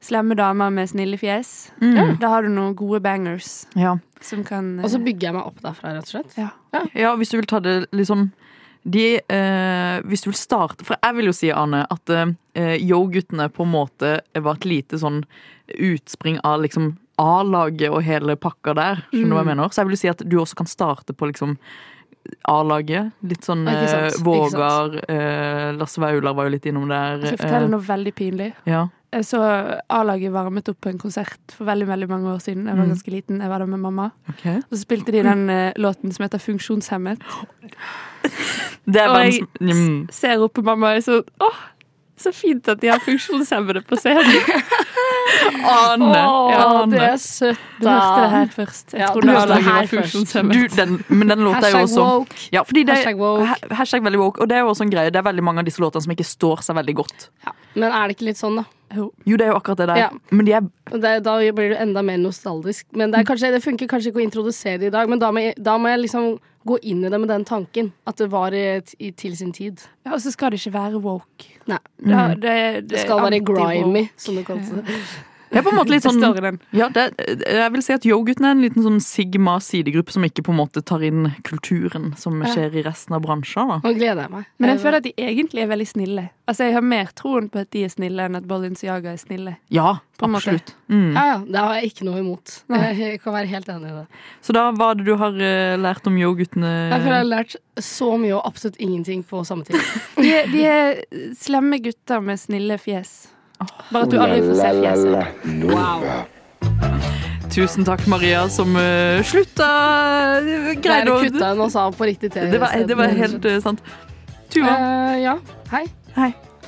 Speaker 7: slemme damer med snille fjes.
Speaker 6: Mm. Ja.
Speaker 7: Da har du noen gode bangers
Speaker 6: Ja.
Speaker 7: som kan
Speaker 3: Og så bygger jeg meg opp derfra, rett og slett.
Speaker 7: Ja.
Speaker 6: Ja, hvis du vil ta det litt sånn de, eh, Hvis du vil starte For jeg vil jo si, Arne, at eh, yo-guttene på en måte var et lite sånn utspring av liksom A-laget og hele pakka der. Skjønner du hva jeg
Speaker 7: Mm.
Speaker 6: mener? Så jeg vil jo si at du også kan starte på liksom A-laget. Litt sånn
Speaker 7: Ikke
Speaker 6: eh,
Speaker 7: sant, ikke
Speaker 6: Vågar, eh, Lasse Vaular var jo litt innom der.
Speaker 7: Jeg skal fortelle
Speaker 6: eh,
Speaker 7: noe veldig pinlig.
Speaker 6: Ja.
Speaker 7: Jeg så A-laget varmet opp på en konsert for veldig veldig mange år siden. Jeg var
Speaker 6: Mm.
Speaker 7: ganske liten. Jeg var der med mamma.
Speaker 6: Ok.
Speaker 7: Og så spilte de den eh, låten som heter 'Funksjonshemmet'.
Speaker 6: Det er
Speaker 7: og jeg
Speaker 6: verdens- Mm.
Speaker 7: s- ser opp på mamma og er sånn Åh, så fint at de har funksjonshemmede på scenen.
Speaker 6: Arne!
Speaker 7: Åh,
Speaker 6: Ja,
Speaker 7: det er
Speaker 3: søtt,
Speaker 7: Du hørte det her først. Jeg trodde A-laget var funksjonshemmet.
Speaker 6: Du, den, men den låta er jo
Speaker 7: Hashtag
Speaker 6: også
Speaker 7: woke.
Speaker 6: Ja, fordi det,
Speaker 3: Hashtag woke.
Speaker 6: ha- Hashtag veldig woke. Og det er jo også en greie. Det er veldig mange av disse låtene som ikke står seg veldig godt.
Speaker 3: Men er det ikke litt sånn, da?
Speaker 7: Jo.
Speaker 6: det er jo akkurat det der.
Speaker 3: Ja.
Speaker 6: Men de er
Speaker 3: Og Det, da blir du enda mer nostalgisk. Men det, er kanskje, det funker kanskje ikke å introdusere det i dag, men da må, jeg, da må jeg liksom gå inn i det med den tanken. At det var i, i, til sin tid.
Speaker 7: Ja, og så skal det ikke være woke.
Speaker 3: Nei.
Speaker 7: Da-
Speaker 6: Mm.
Speaker 7: det-
Speaker 3: det,
Speaker 7: det
Speaker 3: skal
Speaker 7: er
Speaker 3: være grimy,
Speaker 7: anti-woke.
Speaker 3: som det kalles.
Speaker 6: Det er på en måte litt
Speaker 7: Det
Speaker 6: sånn
Speaker 7: står i den.
Speaker 6: ja, det, Jeg vil si at yo-guttene er en liten sånn sigma-sidegruppe som ikke på en måte tar inn kulturen som
Speaker 7: Ja.
Speaker 6: skjer i resten av bransjer. Da.
Speaker 3: Nå gleder jeg meg.
Speaker 7: Men
Speaker 6: Eh,
Speaker 7: jeg føler at de egentlig er veldig snille. Altså, Jeg har mer troen på at de er snille, enn at Balenciaga er snille.
Speaker 6: Ja,
Speaker 7: På en måte.
Speaker 6: absolutt. Mm.
Speaker 3: Ja, ja, det har jeg ikke noe imot.
Speaker 7: Nei.
Speaker 3: Jeg kan være helt enig i det.
Speaker 6: Så da, hva er det du har eh, lært om
Speaker 3: Jeg føler jeg har
Speaker 6: yo-guttene?
Speaker 3: lært så mye og absolutt ingenting på samme tid.
Speaker 7: De er, de er slemme gutter med snille fjes. Bare at du
Speaker 6: Ooh la
Speaker 7: aldri får
Speaker 6: la
Speaker 7: se
Speaker 6: la la
Speaker 7: fjeset.
Speaker 6: Nova. Tusen takk, Maria, som eh, slutta
Speaker 3: Der
Speaker 6: Greide å
Speaker 3: kutta hun oss av på riktig TV.
Speaker 6: Det var, det var helt eh, sant. Tuva,
Speaker 3: Eh, ja, hei.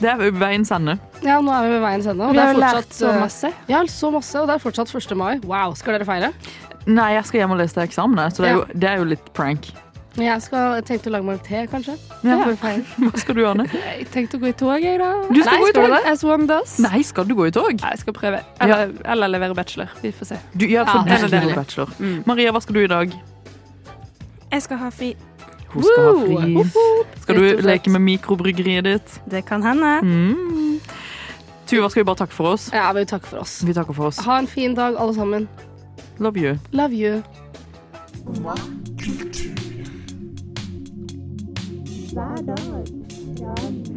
Speaker 6: det er veiens ende.
Speaker 3: Ja, nå er vi ved veiens ende. og
Speaker 7: Vi
Speaker 3: det
Speaker 7: har
Speaker 3: er
Speaker 7: jo lært
Speaker 3: fortsatt,
Speaker 7: så
Speaker 3: eh,
Speaker 7: masse.
Speaker 3: Ja, så masse, og det er fortsatt 1. mai. Wow, skal dere feire?
Speaker 6: Nei, jeg skal hjem og lese til eksamen, jeg, så det er, jo, det er jo litt prank.
Speaker 3: Jeg skal, tenkte å lage meg en te, kanskje.
Speaker 6: Ja.
Speaker 3: for å feire.
Speaker 6: Hva skal du, Arne?
Speaker 7: Jeg tenkte å gå i tog, jeg, da.
Speaker 6: Du skal
Speaker 7: Nei,
Speaker 6: gå i tog?
Speaker 7: du det? As one does.
Speaker 6: Nei, skal du gå i tog?
Speaker 7: Nei, jeg skal prøve. Eller, eller levere bachelor. Vi får se.
Speaker 6: Du, ja, for du
Speaker 7: Ja, det er
Speaker 6: skal
Speaker 7: deilig.
Speaker 6: gå bachelor. Maria, hva skal du i dag?
Speaker 13: Jeg skal ha fri.
Speaker 6: Hun skal ha fri.
Speaker 13: Woo! Hopp, hopp.
Speaker 6: Skal
Speaker 13: Rett og
Speaker 6: du
Speaker 13: slett.
Speaker 6: leke med mikrobryggeriet ditt?
Speaker 13: Det kan hende.
Speaker 6: Mm. Tuva, skal vi bare takke for oss?
Speaker 3: Ja, vi takker for oss.
Speaker 6: Vi takker for oss.
Speaker 3: Ha en fin dag, alle sammen.
Speaker 6: Love you.
Speaker 3: Love you.
Speaker 9: Hver dag fra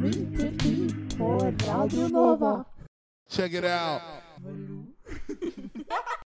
Speaker 9: 9 til 10 på Radio Nova.
Speaker 14: Check it out.